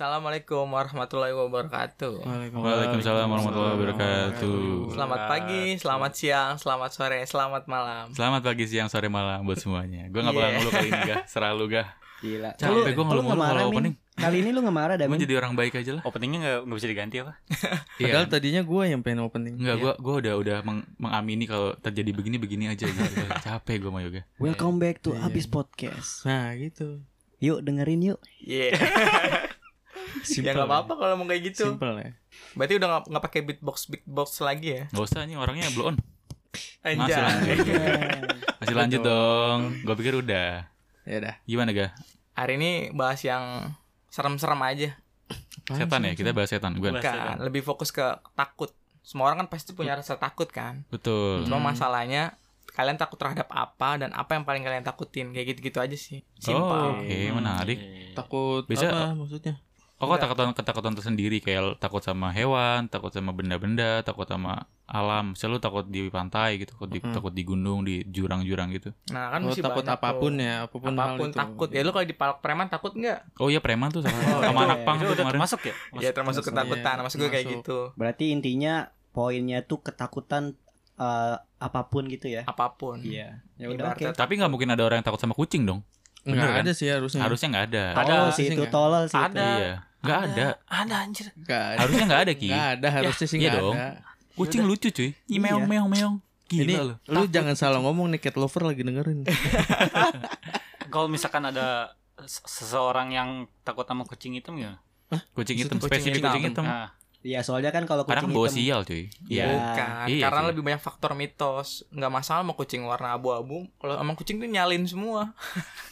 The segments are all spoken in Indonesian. Assalamualaikum warahmatullahi wabarakatuh. Waalaikumsalam warahmatullahi wabarakatuh. Selamat pagi, selamat siang, selamat sore, selamat malam. Selamat pagi, siang, sore, malam buat semuanya. Gue gak bakal Yeah. ngeluh kali ini, gah. Serah lu, gah. Gila. Capek gua ngeluh mulu ngemarah, kalau Min. opening. Kali ini lu ngemarah dah, Gue Min. jadi orang baik aja lah. Openingnya nggak nggak bisa diganti apa? Padahal tadinya gue yang pengen opening. Iya. Enggak, gue gua udah udah meng- mengamini kalau terjadi begini-begini aja gitu. Gua Capek gue sama yoga. Welcome back to Iya, Abis Podcast. Nah gitu. Yuk dengerin yuk. Iya. ya nggak apa-apa kalau mau kayak gitu. ya. Berarti udah nggak- nggak pakai beatbox beatbox lagi ya? Gak usah nih orangnya blow on. Anjay. Masih lanjut. Masih lanjut dong. Gue pikir udah. Ya udah. Gimana, gah? Hari ini bahas yang serem-serem aja. Setan ya? Kita bahas setan. Gue. Bahas Kan lebih fokus ke takut. Semua orang kan pasti punya rasa takut kan. Betul. Cuma masalahnya kalian takut terhadap apa dan apa yang paling kalian takutin kayak gitu-gitu aja sih. Oh, Simpel. Iya. oke. Menarik. takut apa Bisa- maksudnya Oh, kok ketakutan ketakutan tersendiri kayak takut sama hewan, takut sama benda-benda, takut sama alam. Selalu takut di pantai gitu, takut di, takut di gunung, di jurang-jurang gitu. Nah, kan Lo masih takut banyak apapun tuh. ya apapun, hal Apapun itu. takut. Ya lu kalau dipalak preman takut nggak? Oh iya preman tuh sama, sama anak pang tuh Itu udah kemarin. termasuk ya? Ya termasuk ketakutan, Iya, maksud gue kayak termasuk. gitu. Berarti intinya poinnya tuh ketakutan eh, apapun gitu ya. Apapun. Iya. Ya udah oke. Ibaratnya Tapi nggak mungkin ada orang yang takut sama kucing dong. nggak Bener kan? ada sih harusnya Harusnya nggak ada. Tolol sih sih itu nggak? tolol sih itu. Ada. Iya. Nggak ada. Ada anjir. nggak ada Harusnya nggak ada ki. nggak ada harusnya sih iya nggak dong. ada Kucing lucu cuy. Ih, Meong meong meong. ini Gila loh. lu jangan salah ngomong nih cat lover lagi dengerin Kalau misalkan ada se- seseorang yang takut sama kucing itu gimana? Kucing hitam Kucing spesifik hitam. kucing hitam. Nah, Iya, soalnya kan kalau Kadang kucing bawa hitam. sial cuy. Iya. Iya. Bukan, Iya karena sih. lebih banyak faktor mitos. Nggak masalah mau kucing warna abu-abu. Kalau emang kucing tuh nyalin semua.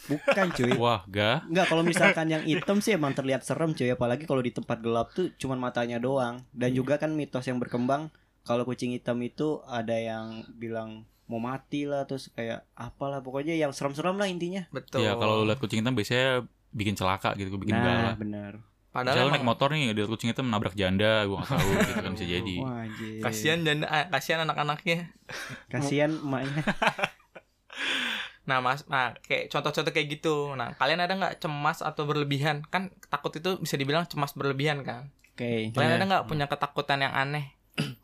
Bukan cuy. Wah, gak. Enggak, kalau misalkan yang hitam sih emang terlihat serem cuy, apalagi kalau di tempat gelap tuh cuman matanya doang. Dan juga kan mitos yang berkembang kalau kucing hitam itu ada yang bilang mau mati lah terus kayak apalah pokoknya yang serem-serem lah intinya. Betul. Iya, kalau lu lihat kucing hitam biasanya bikin celaka gitu, bikin bala. nah, benar. Padahal Misalnya naik emang motor nih, ada kucing hitam nabrak janda, gua gak tahu gitu kan bisa jadi. Wah, anjir. kasihan dan ah, kasihan anak-anaknya. Kasihan emaknya. Nah, Mas, nah kayak contoh-contoh kayak gitu. Nah, kalian ada nggak cemas atau berlebihan? Kan takut itu bisa dibilang cemas berlebihan kan. Oke. Kalian ada nggak punya ketakutan yang aneh?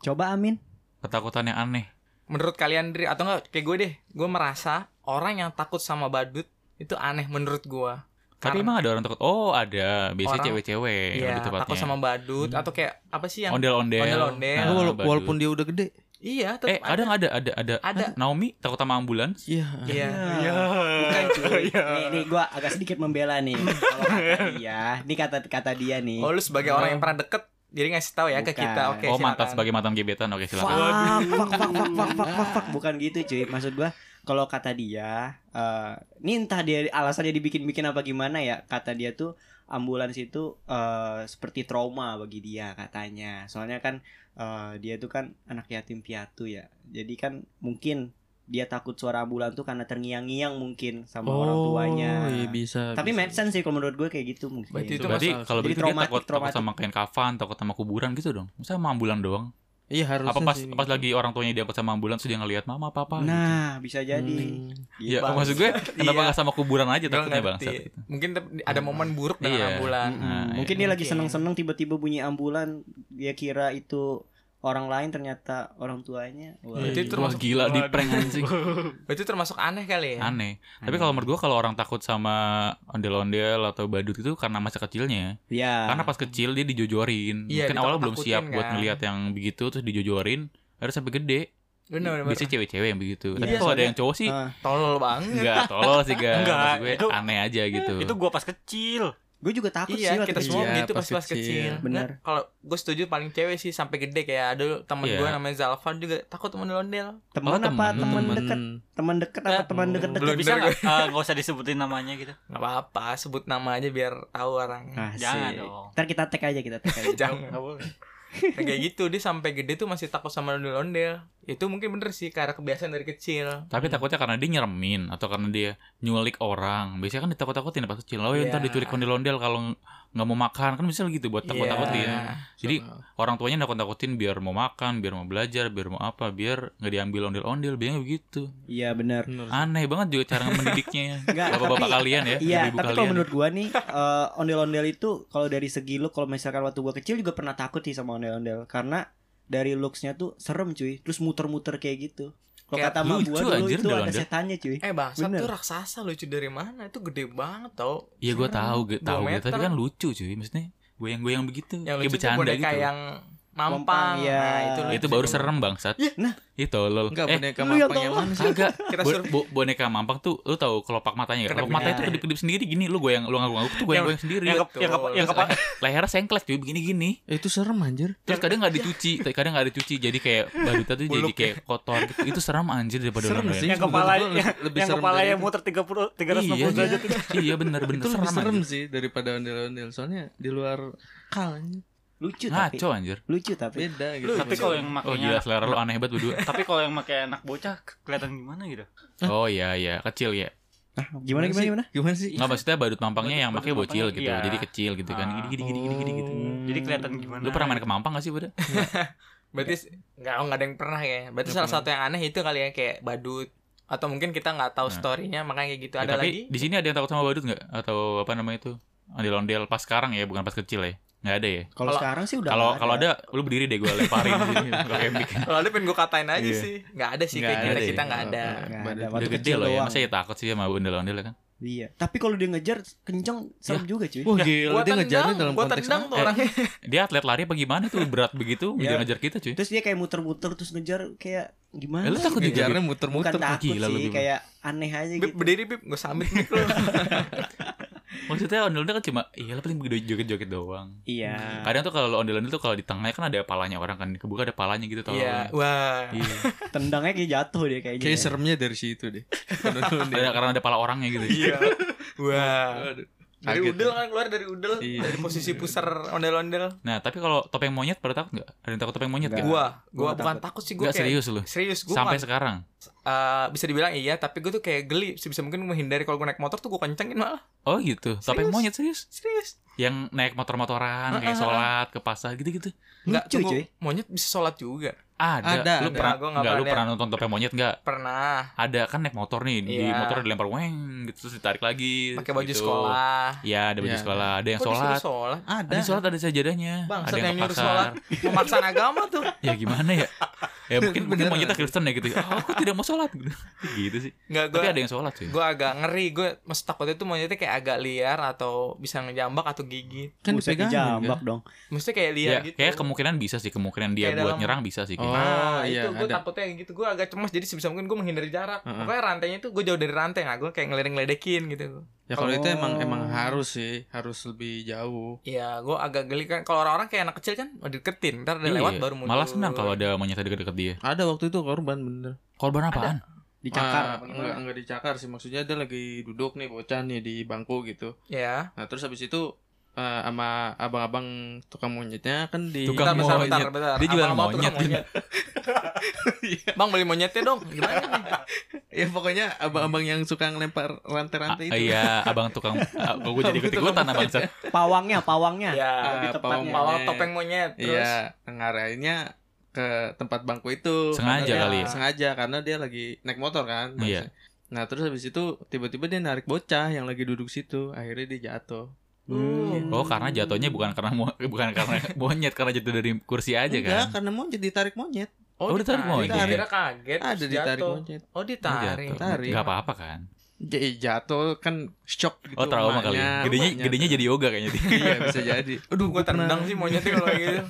Coba Amin. Ketakutan yang aneh. menurut kalian diri atau enggak kayak gue deh gue merasa orang yang takut sama badut itu aneh menurut gue Tapi Karena- emang ada orang takut. Oh, ada. Biasanya Orang- cewek-cewek Iya, lebih tepatnya. Oh, takut sama badut Hmm. atau kayak apa sih yang ondel-ondel. Ondel-ondel. Nah, Lu Wala- badut. walaupun dia udah gede iya tetap eh, ada nggak ada ada ada Ada. Naomi takut sama ambulans? iya iya Iya. Bukan cuy. Nih, nih gua agak sedikit membela nih. Kalau kata dia, ini kata kata dia nih. oh lu sebagai orang yang pernah deket jadi ngasih tahu ya ke Iya. Bukan. kita oke oh, silakan. mantan sebagai mantan gebetan. Oke, silakan. Fak, fak, fak, fak, fak, fak, fak, fak. Bukan gitu cuy Maksud gua Kalau kata dia eh Ini entah dia Alasannya dibikin-bikin apa gimana ya Kata dia tuh Ambulans itu eh Seperti trauma bagi dia katanya Soalnya kan eh, Dia tuh kan Anak yatim piatu ya Jadi kan Mungkin Dia takut suara ambulan tuh Karena terngiang-ngiang mungkin Sama orang tuanya Oh, iya, bisa Tapi bisa. make sense sih Kalau menurut gue kayak gitu mungkin Berarti itu Berarti masalah. kalau Jadi begitu dia traumatik, takut takut traumatik. sama kain kafan, takut sama kuburan gitu dong. Masa sama ambulan doang? iya harusnya Apa pas sih. pas lagi orang tuanya diangkut sama ambulan terus dia ngelihat mama papa gitu. Nah bisa jadi Hmm. Ya, Bangsat. maksud gue kenapa Iya. nggak sama kuburan aja Gua takutnya ngerti. bangsat. mungkin tep- Hmm. ada momen buruk dengan Iya. ambulan Mm-mm. Nah, iya. Hmm, mungkin dia lagi Mungkin. seneng-seneng tiba-tiba bunyi ambulan dia kira itu orang lain ternyata orang tuanya Wah, Itu iya. Wah, termasuk- gila di prank anjing. Hmm. itu termasuk aneh kali ya aneh. Tapi kalau menurut gua kalau orang takut sama ondel-ondel atau badut itu karena masa kecilnya. ya Karena pas kecil dia Ah. dijojorin. Iya, Mungkin awalnya belum ditakut-takutin siap buat kan. ngelihat yang begitu terus dijojorin. Harus sampai gede. bener bener Biasanya cewek-cewek yang begitu. Iya, Tapi kalau ada soalnya- yang cowok sih Ah. tolol banget enggak tolol sih gak. Enggak, Maksud gue itu- aneh aja gitu. Itu gua pas kecil. gue juga takut iya sih waktu kita kecil. semua Iya, gitu pas pas pas kecil, kecil. Bener. Nah, kalau gue setuju paling cewek sih sampai gede kayak ada temen Iya. gue namanya Zalfan juga takut ondel-ondel Oh, teman apa temen. teman Temen- dekat teman dekat apa Eh, teman dekat-dekat Blunder Bisa gue. nggak eh, nggak usah disebutin namanya gitu? Gak apa-apa, sebut nama aja biar tahu Nah. orang. Asik. Jangan dong. Nah, ntar kita tag aja kita tag aja Jangan. Nggak boleh. Nah, kayak gitu dia sampai gede tuh masih takut sama ondel-ondel. Itu mungkin bener sih karena kebiasaan dari kecil. Tapi takutnya karena dia nyeremin atau karena dia nyulik orang. Biasanya kan ditakut-takutin pas kecil. Oh ya Iya. ntar diculik ondel-ondel kalau nggak mau makan kan misalnya gitu buat takut-takutin Iya. jadi orang tuanya nakut-nakutin biar mau makan biar mau belajar biar mau apa biar nggak diambil ondel-ondel biasanya begitu Iya benar. Bener. aneh banget juga cara mendidiknya Enggak, bapak-bapak tapi- kalian ya Iya, ibu tapi kalian kalau menurut gua nih eh, ondel-ondel itu kalau dari segi look kalau misalkan waktu gua kecil juga pernah takut sih sama ondel-ondel karena dari looksnya tuh serem cuy, terus muter-muter kayak gitu. Kalau Kayak kata mak lucu gua dulu anjir itu ada ondel-ondel. setannya cuy. Eh bangsa Bener. tuh raksasa lucu dari mana? Itu gede banget tau. iya gue tahu gue Hmm, Dua tahu gue meter. tapi kan lucu cuy maksudnya goyang-goyang begitu Yang kayak lucu tuh bercanda boneka gitu yang Mampang, mampang. Nah, itu iya. lucu. Iya, itu baru serem bangsat nah. itu tolol Enggak eh boneka lu yang mampang yang tolong. mana sih? Kagak. Kita Bo- suruh bo- boneka mampang tuh lu tahu kelopak matanya gak? Kelopak Kedap- matanya tuh Nah. kedip-kedip sendiri gini, lu goyang lu ngangguk-ngangguk tuh goyang-goyang sendiri. yang ke- Betul. yang ke- yang kepala Lehernya sengklek cuy begini-gini. Eh, Itu serem anjir. Terus kadang gak dicuci, kadang gak dicuci jadi kayak barutnya tuh jadi Buluk. kayak kotor gitu. Itu serem anjir daripada Serem orang lain. sih. yang Itu kepala menurut gua yang, lebih yang serem kepala dari yang itu. muter 30 gitu. Iya, 360 derajat itu. iya bener bener Itu serem, lebih serem anjir. sih daripada ondel-ondel soalnya di luar kal anjir. Lucu tapi. Ngaco anjir. Lucu tapi. Beda gitu. Tapi kalau yang Oh iya. gila makainya selera lu aneh banget berdua. tapi kalau yang pakai anak bocah ke- kelihatan gimana gitu? Oh iya iya, kecil ya. Ah, gimana gimana sih? gimana? Gimana sih? Enggak maksudnya badut mampangnya yang Badut- pakai badut bocil mampangnya, gitu. iya. Jadi kecil gitu kan. Ah. Gini gini gini gini gini gitu. Hmm, Jadi kelihatan gimana? Lu pernah main ke mampang gak sih, Bud? Berarti s- nggak nggak ada yang pernah ya. Berarti Nggak salah pernah. satu yang aneh itu kali ya kayak badut atau mungkin kita nggak tahu Nah. storynya makanya kayak gitu. Ya, ada tapi lagi? di sini ada yang takut sama badut nggak atau apa namanya itu ondel-ondel pas sekarang ya bukan pas kecil ya nggak ada ya Kalau Kalau- sekarang sih udah kalau nggak kalau ada lu berdiri deh gue lemparin di sini pakai mic Kalau ada pengen gue katain aja Iya. sih. Nggak ada sih Nggak kayak ada kita ya. kita nggak ada. Nggak Badut. ada. udah Waktu gede kecil loh ya doang. masa ya takut sih sama ondel-ondel ya kan Iya. Tapi kalau dia ngejar kenceng serem juga cuy. Wah gila Gua dia ngejarnya tendang, dalam gua konteks tendang apa? tuh Eh, orangnya. dia atlet lari apa gimana tuh berat begitu Iya. ngejar-ngejar kita cuy Terus dia kayak muter-muter terus ngejar kayak Eh, gimana? lu takut gitu. juga? Ngejarnya Bukan muter-muter. takut Gila lu, sih, Bim. kayak aneh aja Bip, gitu. berdiri bib gue sambit mic lu. maksudnya ondel-ondel kan cuma iya lah paling begitu joget-joget doang Iya. kadang tuh kalau ondel-ondel tuh kalau di tengahnya kan ada palanya orang kan kebuka ada palanya gitu tolong Iya. Wah. Iya. Tendangnya kayak jatuh dia kayaknya. Kayak seremnya dari situ deh. Bukan ondel-ondel. Ada- karena ada pala orangnya gitu Iya. Wah. Dari Aduh, kaget udel ya. kan keluar dari udel. Iya. Dari posisi pusar ondel-ondel. nah tapi kalau topeng monyet pada takut nggak ada yang takut topeng monyet Nggak. nggak Gua, Gua gua bukan takut takut. sih gue Iya. nggak kayak serius lu serius gue sampai sekarang bisa dibilang iya tapi gue tuh kayak geli sebisa mungkin menghindari kalau gue naik motor tuh gue kencengin malah oh gitu topeng Serius. monyet serius serius yang naik motor-motoran Ah, ah, kayak sholat ke pasar gitu-gitu Nggak, Lucu, tuh gua- cuy. monyet bisa sholat juga ada, Ada, lu ada. pernah Gua nggak nggak lu pernah pernah nonton topeng monyet nggak pernah ada kan naik motor nih di Iya. motor dilempar weng gitu terus ditarik lagi pakai baju gitu. sekolah Iya ada baju Iya. sekolah ada yang Kok disuruh sholat sholat Ada. ada yang sholat ada sajadahnya ada Bangsat yang, yang ke nyuruh pasar sholat Memaksakan agama tuh ya gimana ya ya mungkin mungkin Beneran. monyetnya Kristen ya gitu oh, aku tidak mau sholat gitu gitu sih Nggak tapi gue ada yang sholat sih Gue Iya. agak ngeri Gue maksud takutnya tuh monyetnya kayak agak liar Atau bisa ngejambak atau gigit Kan Buset, dipegangin, dijambak dong. Maksudnya kayak liar ya gitu kayak kemungkinan bisa sih kemungkinan dia Kayak buat dalam- nyerang bisa sih Oh, kayaknya. Nah iya, itu gue ada. takutnya yang gitu Gue agak cemas Jadi sebisa mungkin gue menghindari jarak Heeh. Pokoknya rantainya tuh gue jauh dari rantai Nah gue kayak ngeledek-ngeledekin gitu Ya kalau itu emang Oh. emang harus sih, harus lebih jauh. Iya gue agak geli kan Kalau orang-orang kayak anak kecil kan oh, Deketin Ntar udah Iya. lewat baru mundur malah senang kalau ada monyet deket-deket dia Ada waktu itu korban bener. korban apaan Ah, Dicakar apa enggak, gimana? enggak dicakar sih. Maksudnya dia lagi duduk nih bocah nih di bangku gitu. Iya Nah, terus habis itu eh, sama abang-abang tukang monyetnya kan di Tukang Bentar, bentar, monyet. bentar, bentar. Dia jualan Abang-abang tukang monyet. Bang beli monyetnya dong Gimana nih ya pokoknya abang-abang yang suka ngelempar Ah, rantai-rantai itu. iya abang tukang ah, kok gue jadi Abang ikut tukang ikutan abang monyet. Pawangnya, pawangnya. Iya Ah, tepatnya. pawang Mau monyet. topeng monyet Terus Iya, ngarahinnya ke tempat bangku itu. Karena Sengaja dia- kali ya? Sengaja karena dia lagi naik motor kan. Iya. Nah, terus habis itu tiba-tiba dia narik bocah yang lagi duduk situ, akhirnya dia jatuh. Hmm. Oh karena jatuhnya bukan karena mo- bukan karena monyet karena jatuh dari kursi aja Enggak, kan? karena monyet ditarik monyet. Oh, ditarik monyet. Ditarik. Kira Nah, kaget Ada terus ditarik jatuh. monyet. Oh ditarik Jatuh. Tarik. Gak apa-apa kan? Jadi jatuh kan shock gitu. Oh trauma kali. emaknya. ya. Gedenya Emaknya. gedenya jadi yoga kayaknya dia. iya bisa jadi. Aduh, Gue tendang sih monyetnya kalau kayak gitu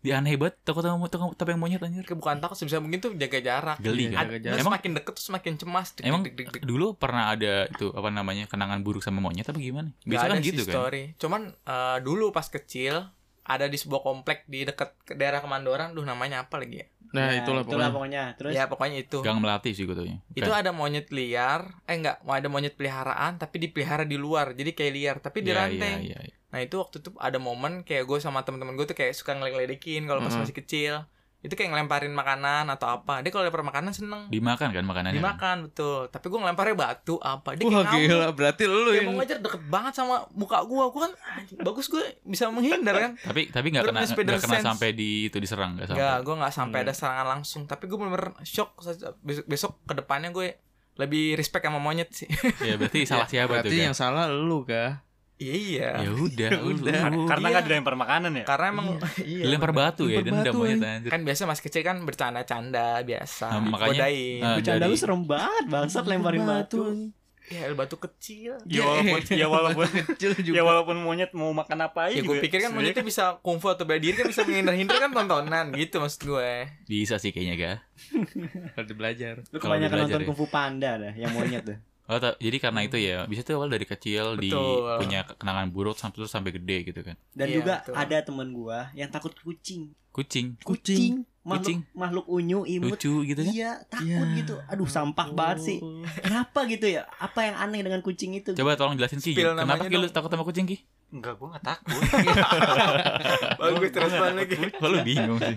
dia aneh banget takut sama tukang topeng monyet anjir. Kayak Bukan takut sebisa mungkin tuh jaga jarak Geli Iya, kan? Ad- jaga jarak. Terus Emang- makin deket terus makin cemas Dik, Emang dik, dik, dik. dulu pernah ada itu apa namanya kenangan buruk sama monyet apa gimana? Nggak Biasa ada kan sih gitu kan? story. Cuman eh, dulu pas kecil ada di sebuah komplek di dekat ke- daerah Kemandoran, duh namanya apa lagi ya? Nah, itulah pokoknya. Terus ya pokoknya itu. Gang melati sih gue taunya. Kan? Itu ada monyet liar, eh enggak, mau ada monyet peliharaan tapi dipelihara di luar. Jadi kayak liar tapi di ranting. Iya, iya, iya. Nah, itu waktu itu ada momen kayak gue sama teman-teman gue tuh kayak suka ngeledek-ledekin kalau pas Mm-mm. masih kecil. itu kayak ngelemparin makanan atau apa dia kalau lempar makanan seneng dimakan kan makanannya kan? dimakan betul tapi gue ngelemparnya batu apa dia Wah kayak ngamuk. gila, berarti lu Dia yang mau ngejar deket banget sama muka gua gua kan anjing, bagus gue bisa menghindar kan tapi tapi nggak kena Terus spider nggak kena sense. sampai di itu diserang nggak sampai Enggak, gue nggak sampai Hmm. ada serangan langsung tapi gue bener-bener shock besok, besok kedepannya gue lebih respect sama monyet sih ya berarti salah siapa tuh Berarti kan yang salah lu kah? iya ya udah Ya udah. lu- Nah, Karena iya. nggak dilempar makanan ya. karena emang iya, dilempar batu ya Dilempar dendam batu, aja anjing. anjir. kan biasa masih kecil kan bercanda-canda biasa Nah, makanya, godain eh, Bercanda dari- lu serem banget bangsat lemparin batu. Iya, ya el batu kecil Ya walaupun ya walaupun Iya. kecil ya juga. walaupun monyet mau makan apa ya aja gue juga pikir kan sebenarnya monyetnya bisa kungfu atau bela diri kan bisa menghindar-hindar kan tontonan gitu maksud gue bisa sih kayaknya ga Berarti belajar. Lu Kalau kebanyakan dibelajar nonton ya. Kung Fu Panda dah yang monyet dah. Oh, ta- jadi karena itu ya, bisa tuh awal dari kecil di Betul. punya kenangan buruk sampai terus sampai gede gitu kan. Dan Iya, juga betul. ada temen gua yang takut kucing. Kucing Kucing, makhluk Kucing. makhluk unyu imut. lucu gitu kan. Iya, takut Iya. Oh. gitu. Aduh, sampah banget sih. Kenapa gitu ya? Apa yang aneh dengan kucing itu? Coba tolong jelasin Ki, Spill kenapa namanya Ki lu dong. takut sama kucing Ki? Enggak, gue nggak takut. bagus terus lagi Kok lu bingung sih?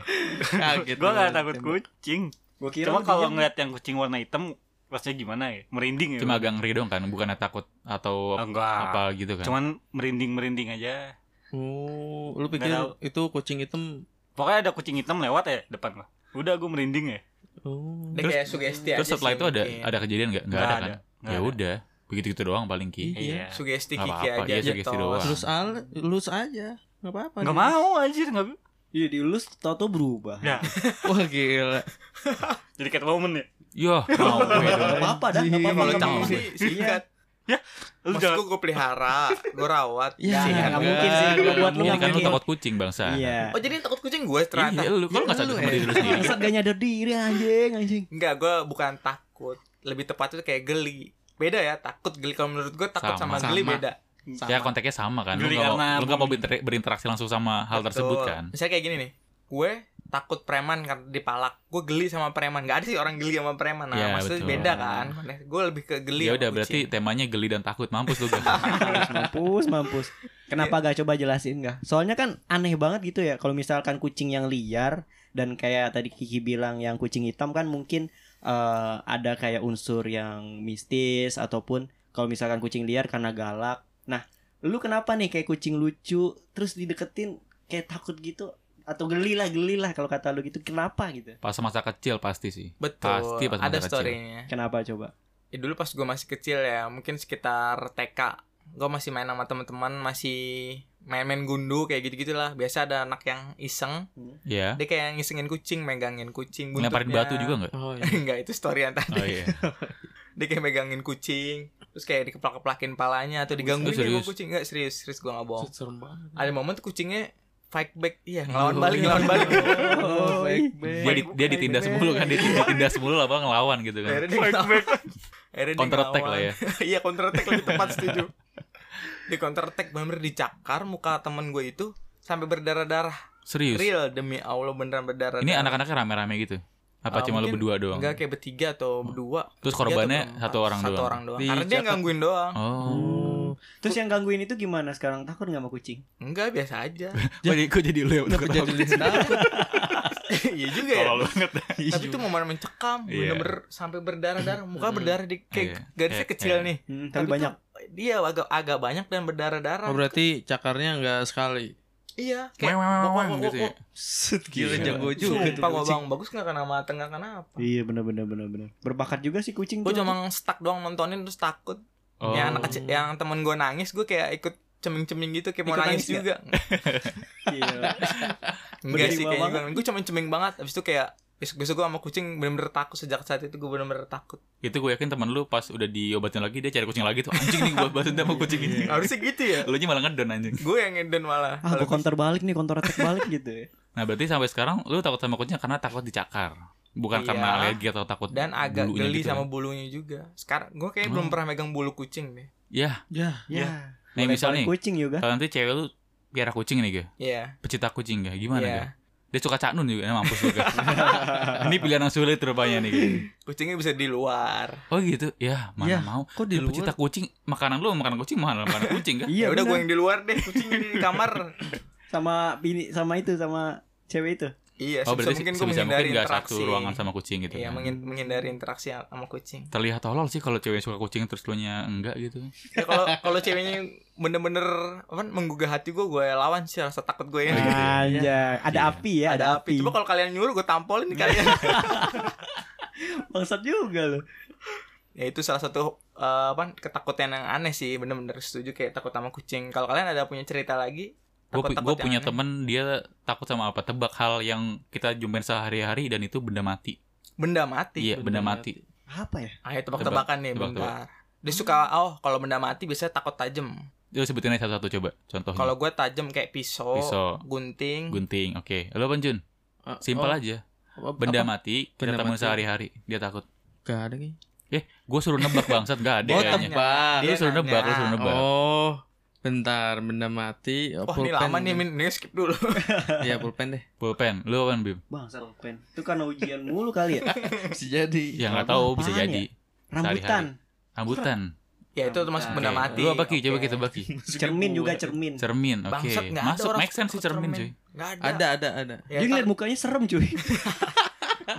Kaget. gue nggak lu. takut kucing. Gua kira Cuma lu kalau diem. ngeliat yang kucing warna hitam, rasanya gimana ya? Merinding ya. Cuma agak ngeri dong kan, bukannya takut atau Ah, enggak. apa gitu kan. Cuman merinding-merinding aja. Oh, lu pikir Nggak itu kucing hitam? Pokoknya ada kucing hitam lewat ya depan gua. Udah gue merinding ya. Oh. Dia kayak sugesti Terus iya aja setelah sih itu ada mungkin. ada kejadian nggak? Nggak ada kan? Nggak Ya ada. udah, begitu gitu doang paling Ki. Iya. sugesti Nggak kiki apa-apa, aja iya, sugesti gitu. doang. Terus al, lus aja. Gak apa-apa. Enggak dia. mau anjir, enggak. Iya, diulus tau-tau berubah. Ya, Wah gila. jadi Catwoman ya. Yah, mau gue Gak dong. apa-apa dah, gak apa-apa. Kalau nggak canggung apa-apa. sih singkat. Lu Maksud jangan gue, gue pelihara, gue rawat. Ya, Singkat. nggak mungkin sih, nggak kalau buat lu mungkin. Iya nggak kan lu mungkin. takut kucing bangsa. Iya. Oh jadi yang takut kucing gue ternyata? Iya, lu kalau nggak Iya, sadar lu, sama diri lu sendiri. Bangsat gak nyadar diri anjing, anjing. Enggak, gue bukan takut. Lebih tepatnya tuh kayak geli. Beda ya, takut geli. Kalau menurut gue takut Sama. sama, geli Sama. beda. Ya konteksnya sama kan. Lu Geli nggak mau, karena lu nggak mau berinter- berinteraksi langsung sama hal tersebut Betul. kan. Misalnya kayak gini nih, gue takut preman karena dipalak. Gue geli sama preman. Gak ada sih orang geli sama preman. Nah, Iya, maksudnya betul. beda kan. Gue lebih ke geli. sama Ya udah berarti kucing. temanya geli dan takut mampus lu kan. Mampus, mampus. Kenapa gak coba jelasin gak? Soalnya kan aneh banget gitu ya. Kalau misalkan kucing yang liar dan kayak tadi Kiki bilang yang kucing hitam kan mungkin eh, ada kayak unsur yang mistis ataupun kalau misalkan kucing liar karena galak. Nah, lu kenapa nih kayak kucing lucu terus dideketin kayak takut gitu atau geli lah geli lah kalau kata lu gitu kenapa gitu? Pas masa kecil pasti sih. Betul. Pasti pas ada masa kecil. storynya. Kenapa coba? ya dulu pas gue masih kecil ya mungkin sekitar TK gue masih main sama teman-teman masih main-main gundu kayak gitu gitulah biasa ada anak yang iseng Ya. dia kayak ngisengin kucing megangin kucing Ngelemparin buntutnya. batu juga nggak? Oh, iya. Enggak itu story yang tadi Oh iya. dia kayak megangin kucing terus kayak dikeplak-keplakin palanya atau digangguin Lu ya sama serius? kucing enggak serius serius gue nggak bohong Serem banget. ada momen tuh kucingnya fight back iya ngelawan Oh, balik iya. ngelawan balik Oh, baik, baik. dia, di, dia ditindas mulu kan dia ditindas mulu apa ngelawan gitu kan Iya. akhirnya dia ngelawan akhirnya dia counter attack lah ngelawan. ya iya counter attack lebih tepat setuju di counter attack bener dicakar muka temen gue itu sampai berdarah darah serius real demi allah beneran berdarah ini anak-anaknya rame-rame gitu apa Ah, cuma lu mungkin berdua doang enggak kayak bertiga atau berdua terus Tiga atau korbannya berempat. satu orang satu doang orang doang Di karena dia Jakarta. gangguin doang oh Terus yang gangguin itu gimana sekarang? Takut gak sama kucing? enggak biasa aja kok jadi, kok jadi lu yang Kenapa jadi lihat takut? iya juga ya kalau lu banget tapi itu momen mencekam Iya. bener-bener sampai berdarah darah muka Mm. berdarah di Iya. kayak garisnya Kayak- kecil kayak- nih Hmm, tapi banyak. tuh dia agak agak banyak dan berdarah darah Oh, berarti cakarnya enggak sekali. iya Weng, weng, weng, weng, gitu oh, ya. Set gila, gila jago jago juga Sumpah gue bang bagus nggak kena mata nggak kena apa Iya benar benar benar benar. Berbakat juga sih kucing gue tuh. cuma stuck doang nontonin terus takut oh. yang anak kecil yang temen gue nangis gue kayak ikut ceming-ceming gitu kayak mau Ikut nangis, nangis juga Gila. enggak sih Berjiwa kayaknya banget. gue gue ceming-ceming banget abis itu kayak besok besok gue sama kucing bener-bener takut sejak saat itu gue bener-bener takut itu gue yakin teman lu pas udah diobatin lagi dia cari kucing lagi tuh anjing nih buat bahas dendam sama kucing ini harusnya gitu ya lu nya malah ngedon anjing gue yang ngedon malah Ah, Kalau gue counter balik nih, counter attack balik gitu ya. nah berarti sampai sekarang lu takut sama kucing karena takut dicakar bukan Iya. karena alergi atau takut kucing. dan agak bulunya geli gitu sama kan. bulunya juga sekarang gue kayaknya belum Oh. pernah megang bulu kucing deh ya Ya, Ya. nih misalnya kucing juga. ya. kalau nanti cewek lu piara kucing nih gue iya pecinta kucing gak? Gimana Iya. gak? Dia suka caknun juga, ya, mampus juga. ini pilihan yang sulit rupanya nih. Gak. kucingnya bisa di luar Oh gitu, ya mana Iya. Ya, mau. kok di Dia luar? pecinta kucing, makanan lu makanan kucing, makanan makanan kucing kan? ya Iya, udah udah gue yang di luar deh kucingnya di kamar sama bini sama itu sama cewek itu. Iya, Oh sebisa berarti mungkin mungkin gue sebisa menghindari mungkin gak interaksi. satu ruangan sama kucing gitu Iya, kan. mengin- menghindari interaksi sama kucing. Terlihat tolol sih kalau cewek suka kucing terus lu nya enggak gitu. Ya kalau kalau ceweknya bener-bener apa menggugah hati gue, gue lawan sih rasa takut gue ya. Oh, gitu ya. Anjay, ada Iya. api ya, ada, api. Coba kalau kalian nyuruh gue tampolin nih kalian. Bangsat juga loh. ya itu salah satu eh, apa ketakutan yang aneh sih, bener-bener setuju kayak takut sama kucing. Kalau kalian ada punya cerita lagi, Gue takut-takut yang punya aneh. temen dia takut sama apa? Tebak hal yang kita jumpain sehari-hari dan itu benda mati. benda mati. Iya, benda mati. Apa ya? Ayo tebak-tebakan nih, Tebak-tebak. bentar. Dia suka oh kalau benda mati biasanya takut tajam. Lu sebutin aja satu-satu coba. Contohnya Kalau gue tajam kayak pisau, pisau, gunting, gunting. Oke. Lu apa, Jun? Ah, Simpel oh, aja. apa- Benda apa? mati Benda kita temuin mati. sehari-hari. Dia takut. Gak ada nih. Gue suruh nebak bangsat gak ada Oh, kayaknya. tebak. Lu suruh nebak, lu suruh nebak. Oh, bentar benda mati. Oh, Wah ini lama nih, Min. Ini skip dulu. Iya pulpen deh. Pulpen, lu apa, Bim? Bangsat pen. Itu karena ujian mulu kali ya. Bisa jadi. Ya Apa nggak tahu bisa apaan jadi. Rambutan, Rambutan. ya itu termasuk benda Oke. mati. Lu apa Ki? Coba Oke. kita bagi. cermin juga cermin. Cermin, oke. Bangsat nggak ada Masuk orang make sense sih suka cermin, cuy. Nggak ada. Ada ada ada. Ya, Dia ntar ngeliat mukanya serem cuy.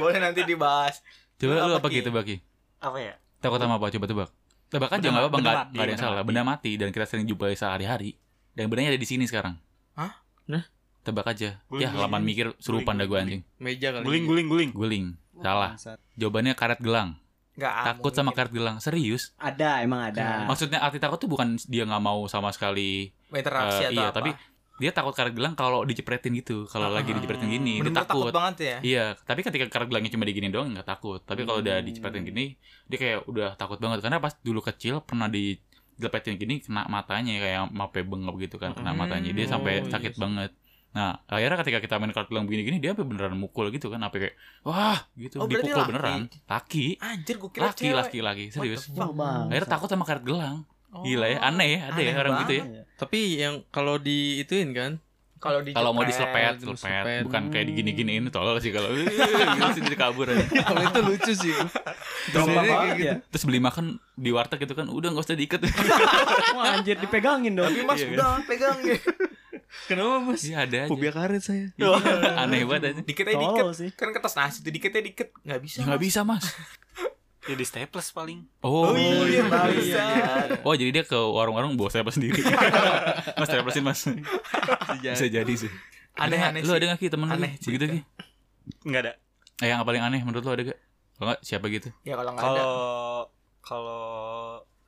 boleh nanti dibahas. Coba Lu lu apa, apa Ki? gitu bagi? apa ya Takut sama apa? Coba tebak. Tebak aja Benda nggak ma- apa-apa, benda nggak mati, nggak ada benda yang salah. mati. Benda mati dan kita sering jumpai sehari-hari. Dan benarnya ada di sini sekarang. Hah? Nah. Tebak aja. Guling, Ya, guling, laman guling. mikir serupan dah gue anjing. Meja kali. guling guling guling Guling. Salah. Bangsat. Jawabannya karet gelang. Nggak ah, Takut mungkin. sama karet gelang. Serius? Ada emang ada. Maksudnya arti takut tuh bukan dia nggak mau sama sekali interaksi atau Eh, iya, apa. tapi dia takut karet gelang kalau dijepretin gitu. Kalau lagi Ah. dijepretin gini, dia Bener-bener takut. takut. banget ya. Iya, tapi ketika karet gelangnya cuma digini doang nggak takut. Tapi kalau udah Hmm. dicepetin gini, dia kayak udah takut banget karena pas dulu kecil pernah dijelepetin gini kena matanya kayak mape bengap gitu kan kena Hmm. matanya dia Oh, sampai iya sakit sih. banget. Nah, akhirnya ketika kita main karet gelang begini-gini dia sampai beneran mukul gitu kan, sampai kayak wah gitu Oh, berarti dipukul laki. beneran. Laki, Anjir gue kira laki, cewek. laki, laki, What the serius. fuck? Fuck, Bang. Akhirnya takut sama karet gelang. Gila ya, Oh. aneh ya, ada ya Aneh orang gitu ya. banget. Tapi yang kalau diituin kan Kalau di Kalau mau diselepet, diselepet, diselepet. selepet, bukan kayak Hmm. digini-giniin tolol sih kalau. Gitu sih jadi kabur aja. Kalau itu lucu sih gua. Drama Sebenarnya kayak banget gitu. ya. terus beli makan di warteg gitu kan udah nggak usah diikat Wah anjir dipegangin dong. Tapi mas Iya, kan? udah pegang ya. Kenapa Mas? sih ada aja Iya, Fobia karet saya. aneh banget aja Dikit aja dikit. Tolol sih. Kan kertas nasi itu dikit aja dikit. Nggak bisa. ya nggak Mas. bisa mas jadi staples paling oh, Oh iya, iya. nggak bisa. oh jadi dia ke warung-warung bawa saya sendiri mas saya sih mas bisa jadi sih Aneh-aneh Ya. lu sih. ada nggak ki temen lu Aneh Ki? begitu ki nggak ada eh, yang paling aneh menurut lu ada gak kalau nggak siapa gitu Ya kalau nggak ada. kalau kalau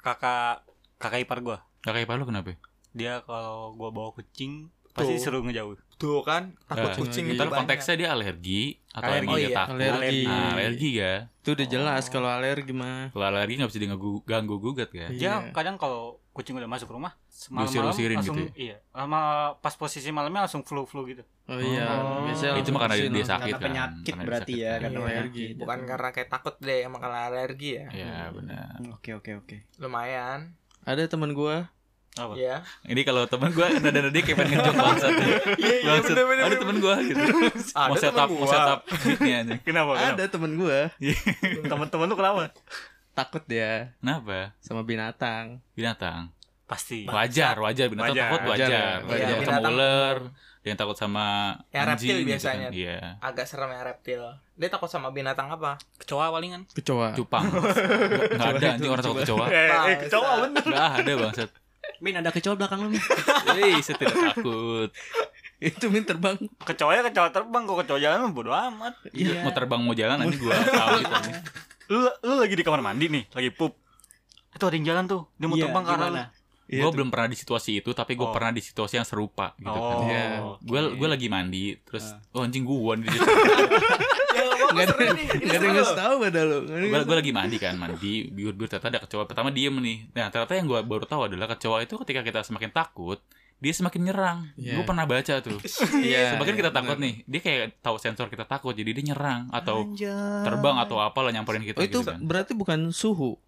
kakak kakak ipar gua kakak ipar lu Iya, kenapa dia kalau gua bawa kucing pasti Tuh. suruh ngejauh Tuh kan takut Eh, kucing ntar itu Ntar banyak. konteksnya dia alergi atau Alergi, emang dia oh iya. takut Alergi. Nah, alergi ya Itu udah jelas Oh. kalau alergi mah. kalau alergi nggak bisa diganggu ganggu gugat ya dia Iya. kadang kalau kucing udah masuk rumah malam-malam Diusir-usirin langsung gitu iya lama pas posisi malamnya langsung flu flu gitu Oh iya, Oh. biasanya itu mah karena langsung dia, dia bersin sakit Karena kan penyakit Karena dia berarti sakit ya, kan. karena Iya. penyakit. Bukan karena kayak takut deh emang karena alergi ya. Iya benar. Hmm, Oke oke oke. Lumayan. langsung. Ada teman gua apa Ya. Ini kalau temen gue nada nada kayak pengen ngejok bangsat. Iya, iya, Bangsat. bener, bener, Ada bener. temen gue gitu. Ada Mau setup, temen mau gua. setup mic-nya aja. kenapa Ada teman gua teman-teman lu kenapa takut dia Kenapa? sama binatang. Binatang. pasti Wajar, wajar binatang Wajar. takut wajar. Wajar, Ada yang wajar. Iya, takut sama Binatang. ular, ada yang takut sama Ya, reptil anjing gitu biasanya. kan. Iya. Agak serem ya reptil. Dia takut sama binatang apa? kecoa palingan Kecoa. Cupang. Enggak ada Coba anjing itu, orang takut coba. kecoa. eh, kecoa, kecoa bener Enggak ada bangsat. Min ada kecoa belakang lu. Min. Eh, saya tidak takut. itu min terbang. kecoa ya kecoa terbang kok kecoa jalan mah bodo amat Iya. Mau terbang mau jalan anjing gua tahu gitu. lu lu lagi di kamar mandi nih lagi pup itu ada yang jalan tuh dia mau Iya, terbang ke arah lu. gimana? Iya, Gue tuh. belum pernah di situasi itu, tapi gue Oh. pernah di situasi yang serupa gitu oh kan. Iya. Gue gue lagi mandi, terus oh anjing gue nih. Ya Nggak enggak ada nggak ada yang ngasih tahu pada lu. Nggak ada yang gue gue lagi mandi kan mandi biur-biur ternyata ada kecoa pertama diem nih nah ternyata yang gue baru tahu adalah kecoa itu ketika kita semakin takut dia semakin nyerang Iya. gue pernah baca tuh Iya. semakin kita benar. takut nih dia kayak tahu sensor kita takut jadi dia nyerang atau Anjay. terbang atau apalah nyamperin kita Oh itu gitu kan berarti bukan suhu.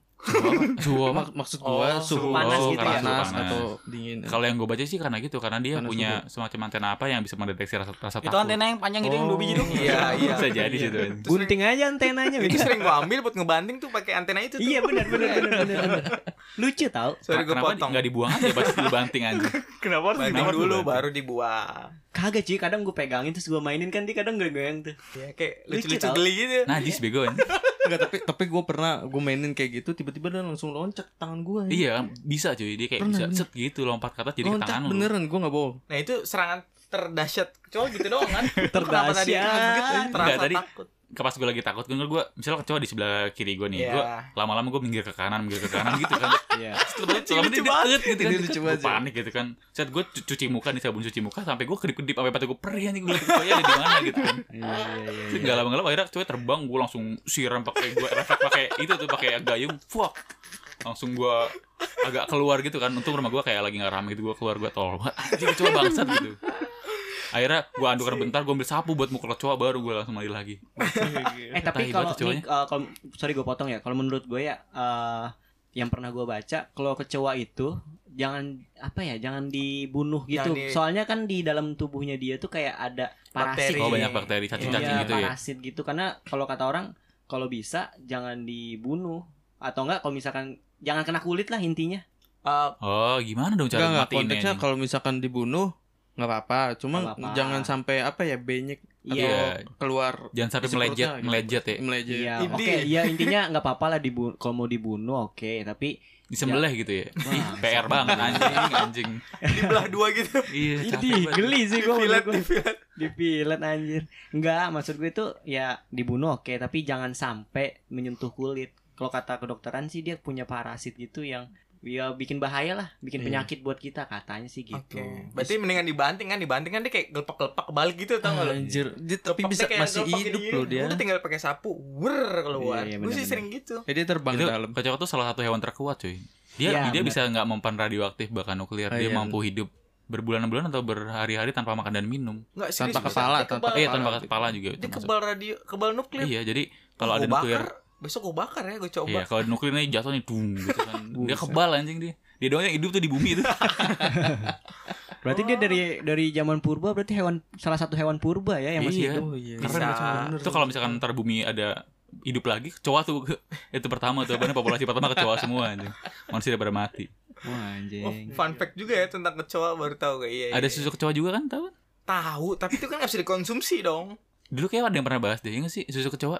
Suhu apa? Mak- maksud gua Oh, suhu suhu panas oh, gitu ya? panas, Panas. atau dingin. kalau yang gue baca sih karena gitu karena dia Karena punya semacam antena apa yang bisa mendeteksi rasa rasa itu takut antena yang panjang itu yang dua biji dong Iya, iya. bisa jadi gitu. sih tuh Terus Gunting aja antenanya. Min. Itu sering gua ambil buat ngebanting tuh pakai antena itu tuh. Iya benar benar benar benar, benar. Lucu tau Sorry gua kenapa potong. nggak dibuang aja pas dibanting aja kenapa harus Banting dibuang Kenapa tuh dulu banting? baru dibuang. Kagak cuy, kadang gue pegangin terus gue mainin kan dia kadang goyang-goyang tuh. ya kayak Lucu lucu-lucu tau. geli gitu najis bego anjing. Enggak, tapi tapi gue pernah gue mainin kayak gitu tiba-tiba dia langsung loncat ke tangan gue Iya bisa cuy dia kayak Pernah, bisa bener. set gitu lompat ke atas jadi ke loncat tangan lu. beneran gue nggak bohong nah itu serangan terdahsyat cowok gitu doang kan Kenapa Terdahsyat. tadi kaget, terasa Enggak, tadi takut Ke Pas gue lagi takut gue gue misalnya kecoa di sebelah kiri gue nih. Iya. Gue lama-lama gue minggir ke kanan minggir ke kanan gitu kan. Iya. Terus selama Lucu dia deket gitu Ini kan. lucu Gue banget sih. panik gitu kan. Saat gue cuci muka nih sabun cuci muka sampai gue kedip-kedip sampai patah gue perih anjing gue liat ada di mana gitu kan. Iya iya iya. Terus gak lama-lama akhirnya cewek terbang gue langsung siram pakai gue refleks pakai itu tuh pakai gayung fuck langsung gue agak keluar gitu kan untung rumah gue kayak lagi nggak rame gitu gue keluar gue tolong banget anjing kecoa bangsat gitu akhirnya gue andukan bentar gue ambil sapu buat mukul kecoa baru gue langsung mandi lagi Eh tapi Tahi kalau banget kecoanya. nih, eh, kalau sorry gue potong ya. Kalau menurut gue ya eh, yang pernah gue baca kalau kecoa itu jangan apa ya jangan dibunuh Jangan gitu. di- Soalnya kan di dalam tubuhnya dia tuh kayak ada parasit. Bakteri. oh banyak bakteri cacing-cacing Iya, gitu ya parasit gitu karena kalau kata orang kalau bisa jangan dibunuh atau enggak kalau misalkan jangan kena kulit lah intinya. Eh, oh gimana dong cara Enggak, enggak. matiin konteksnya kalau misalkan dibunuh nggak apa-apa cuma Nggak apa-apa. jangan sampai apa ya benyek Iya. atau keluar Oh, jangan sampai isi melejet perutnya gitu. melejet ya melejet Iya, Inti. oke, iya intinya nggak apa-apa lah dibu- kalau mau dibunuh oke, tapi disembelih gitu ya Wah, Ih, PR banget anjing anjing dibelah dua gitu iya Ih, capek banget geli sih gue dipilet dipilet Dipilet anjir. Enggak, maksud gue itu ya dibunuh oke, tapi jangan sampai menyentuh kulit. Kalau kata kedokteran sih dia punya parasit gitu yang ya bikin bahaya lah, bikin Iya. penyakit buat kita katanya sih gitu. Oke. Berarti mendingan dibanting kan, dibanting kan dia kayak gelepak-gelepak balik gitu tau gak lo? anjir dia, tapi Gelepaknya bisa kayak masih gelepak hidup gini. loh dia Udah tinggal pakai sapu, wer keluar. Gue sih Iya, iya, benar-benar. sering gitu. Eh, dia terbang itu ke dalam kecoa tuh salah satu hewan terkuat cuy dia Iya, dia benar. bisa nggak mempan radioaktif bahkan nuklir Oh, dia iya, mampu hidup berbulan-bulan atau berhari-hari tanpa makan dan minum Enggak serius. tanpa bisa. kepala Dia tanpa kebal- eh iya kepala. tanpa kepala juga Dia termasuk. kebal radio, kebal nuklir. iya jadi kalau ada Gua nuklir bakar, besok gue bakar ya gue coba. iya kalau ada nuklirnya jatuh nih dung gitu kan dia kebal anjing dia dia doang yang hidup tuh di bumi itu Berarti dia dari dari zaman purba berarti hewan salah satu hewan purba ya yang masih Iya. hidup. oh iya Bisa. itu kalau misalkan ntar bumi ada hidup lagi kecoa tuh itu pertama tuh karena populasi pertama kecoa semua anjing manusia udah pada mati Wah, Oh, anjing. fun fact juga ya tentang kecoa baru tahu kayak iya. ada iya. susu kecoa juga kan tahu tahu, tapi itu kan nggak bisa dikonsumsi dong. dulu kayak ada yang pernah bahas deh ya nggak sih susu kecoa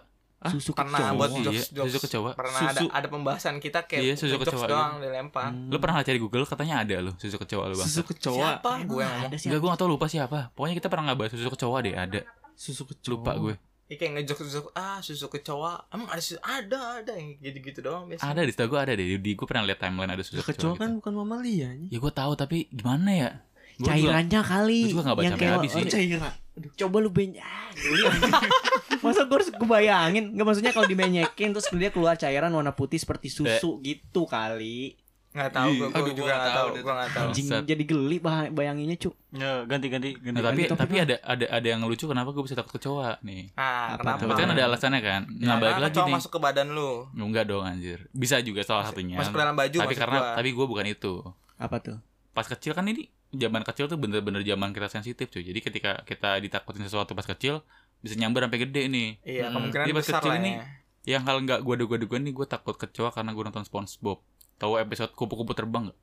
Susu Hmm. Pernah kecoa. buat Iya, jokes jokes. susu kecoa. Pernah ada Susu- ada pembahasan kita kayak Iya, susu jokes kecoa, iya. doang dilempar. lu Hmm. pernah cari Google katanya ada loh susu kecoa lu bang susu kecoa Siapa gue yang ngomong? Ada sih. Enggak gue gak tau lupa siapa Pokoknya kita pernah gak bahas susu kecoa deh Ada susu kecoa Lupa gue Ya, kayak ngejokes jokes ah susu kecoa. Emang ada susu ada ada yang gitu-gitu doang biasanya. Ada di setahu gue ada deh Di gue pernah liat timeline ada susu Susu kecoa, kecoa gitu. kan bukan mamalia Ya gue tahu tapi gimana ya Gua juga- Cairannya kali. Gua juga nggak baca yang kayak habis sih. oh, cairan. Aduh, Coba lu beny ah, geli, anjing. Masa gue harus gue bayangin Gak maksudnya kalau dibenyekin Terus dia keluar cairan warna putih seperti susu gitu kali Nggak tahu Ih, gue, aduh, gue gua juga nggak nggak tahu tahu, deh. gue nggak tahu. Anjing Bangsat. jadi geli bah- bayanginnya cuk Ya, ganti ganti ganti. Nah, tapi Ganti topik tapi ada ada ada yang lucu kenapa gue bisa takut kecoa nih. Ah, Apa kenapa? tuh? Tapi kan ada alasannya kan. Nah, Karena balik lagi Ya, kecoa nih. masuk ke badan lu. Enggak dong anjir. Bisa juga salah satunya. Masuk ke dalam baju tapi maksud karena gua. tapi gue bukan itu. Apa tuh? Pas kecil kan ini zaman kecil tuh bener-bener zaman kita sensitif cuy. Jadi ketika kita ditakutin sesuatu pas kecil bisa nyamber sampai gede nih. Iya, Hmm. kemungkinan Dia pas besar kecil lah ini- ya. Yang hal nggak gue duga-duga nih gue takut kecoa karena gue nonton SpongeBob. Tahu episode kupu-kupu terbang nggak?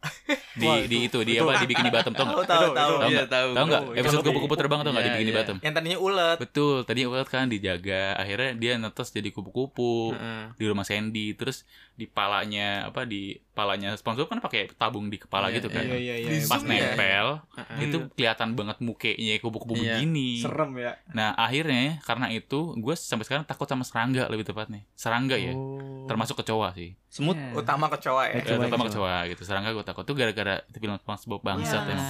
Di Wah, di itu di apa dibikin di Batam tau nggak? Tahu tahu tahu. Tahu Iya, nggak? Tahu nggak? Tahu. Episode Tahu. kupu-kupu terbang tau nggak Iya, dibikin di iya. Batam? Yang tadinya ulet. Betul, tadi ulat kan dijaga, akhirnya dia netes jadi kupu-kupu Heeh. di rumah Sandy, terus di palanya apa di palanya SpongeBob kan pakai tabung di kepala Iya, gitu kan. iya, iya Di Pas Zoom ya? nempel Heeh. itu kelihatan banget mukanya kupu-kupu Iya. begini. Serem ya Nah, akhirnya karena itu gue sampai sekarang takut sama serangga lebih tepatnya. Serangga ya, Oh. termasuk kecoa sih. semut Iya. Utama kecoa ya. Eh, Kecoa, terutama kecoa. kecoa gitu. Serangga gue takut tuh gara-gara itu film SpongeBob bangsat Ah. emang.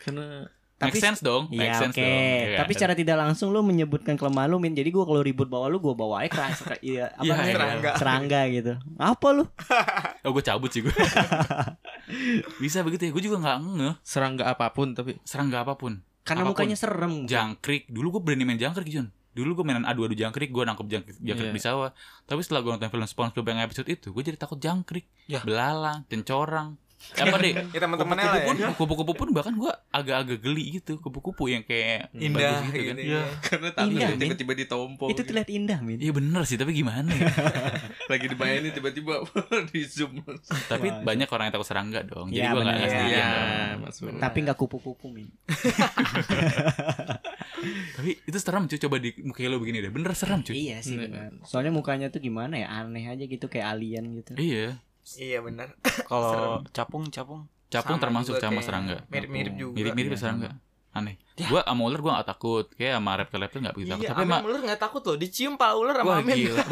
karena Make Tapi- sense dong, make Iya sense oke dong. Iya Tapi kan? secara tidak langsung Lu menyebutkan kelemahan lu Min Jadi gue kalau ribut bawa lu Gue bawa aja keras iya, apa Iya, namanya? iya. Serangga. Serangga gitu Apa lu? Oh gue cabut sih gue Bisa begitu ya Gue juga gak ngeh serangga apapun tapi Serangga apapun Karena Apapun. mukanya serem Jangkrik Dulu gue berani main jangkrik Jun Dulu gue mainan adu-adu jangkrik Gue nangkep jangkrik, jangkrik Iya. di sawah Tapi setelah gue nonton film SpongeBob yang episode itu Gue jadi takut jangkrik Iya. Yah. Belalang Cencorang Apa deh Ya teman-temannya lah Kupu-kupu ya. pun, kupu-kupu pun bahkan gue agak-agak geli gitu Kupu-kupu yang kayak Indah bagus gitu. kan ya. karena takut Iya, Min. tiba-tiba ditompok Itu gitu. terlihat indah Min Iya bener sih tapi gimana ya lagi dibayangin tiba-tiba di zoom Tapi Iya, Wah, banyak orang yang takut serangga dong Jadi Iya, gue gak bener. ngasih Iya. Iya, Mas Bro. Tapi nggak kupu-kupu Min Tapi itu serem cuy coba di muka lo begini deh. Bener serem cuy. Iya sih Iya. benar. Soalnya mukanya tuh gimana ya aneh aja gitu kayak alien gitu. Iya. Iya benar. Kalau capung, capung. Sama Capung termasuk juga sama kayak serangga. Mirip-mirip juga. Mirip-mirip Iya, serangga. Aneh. Gua sama ular gua gak takut. Kayak sama reptil-reptil gak begitu takut. Iya, Tapi Amin sama ular nggak takut loh, dicium pak ular sama Wah Amin. gila.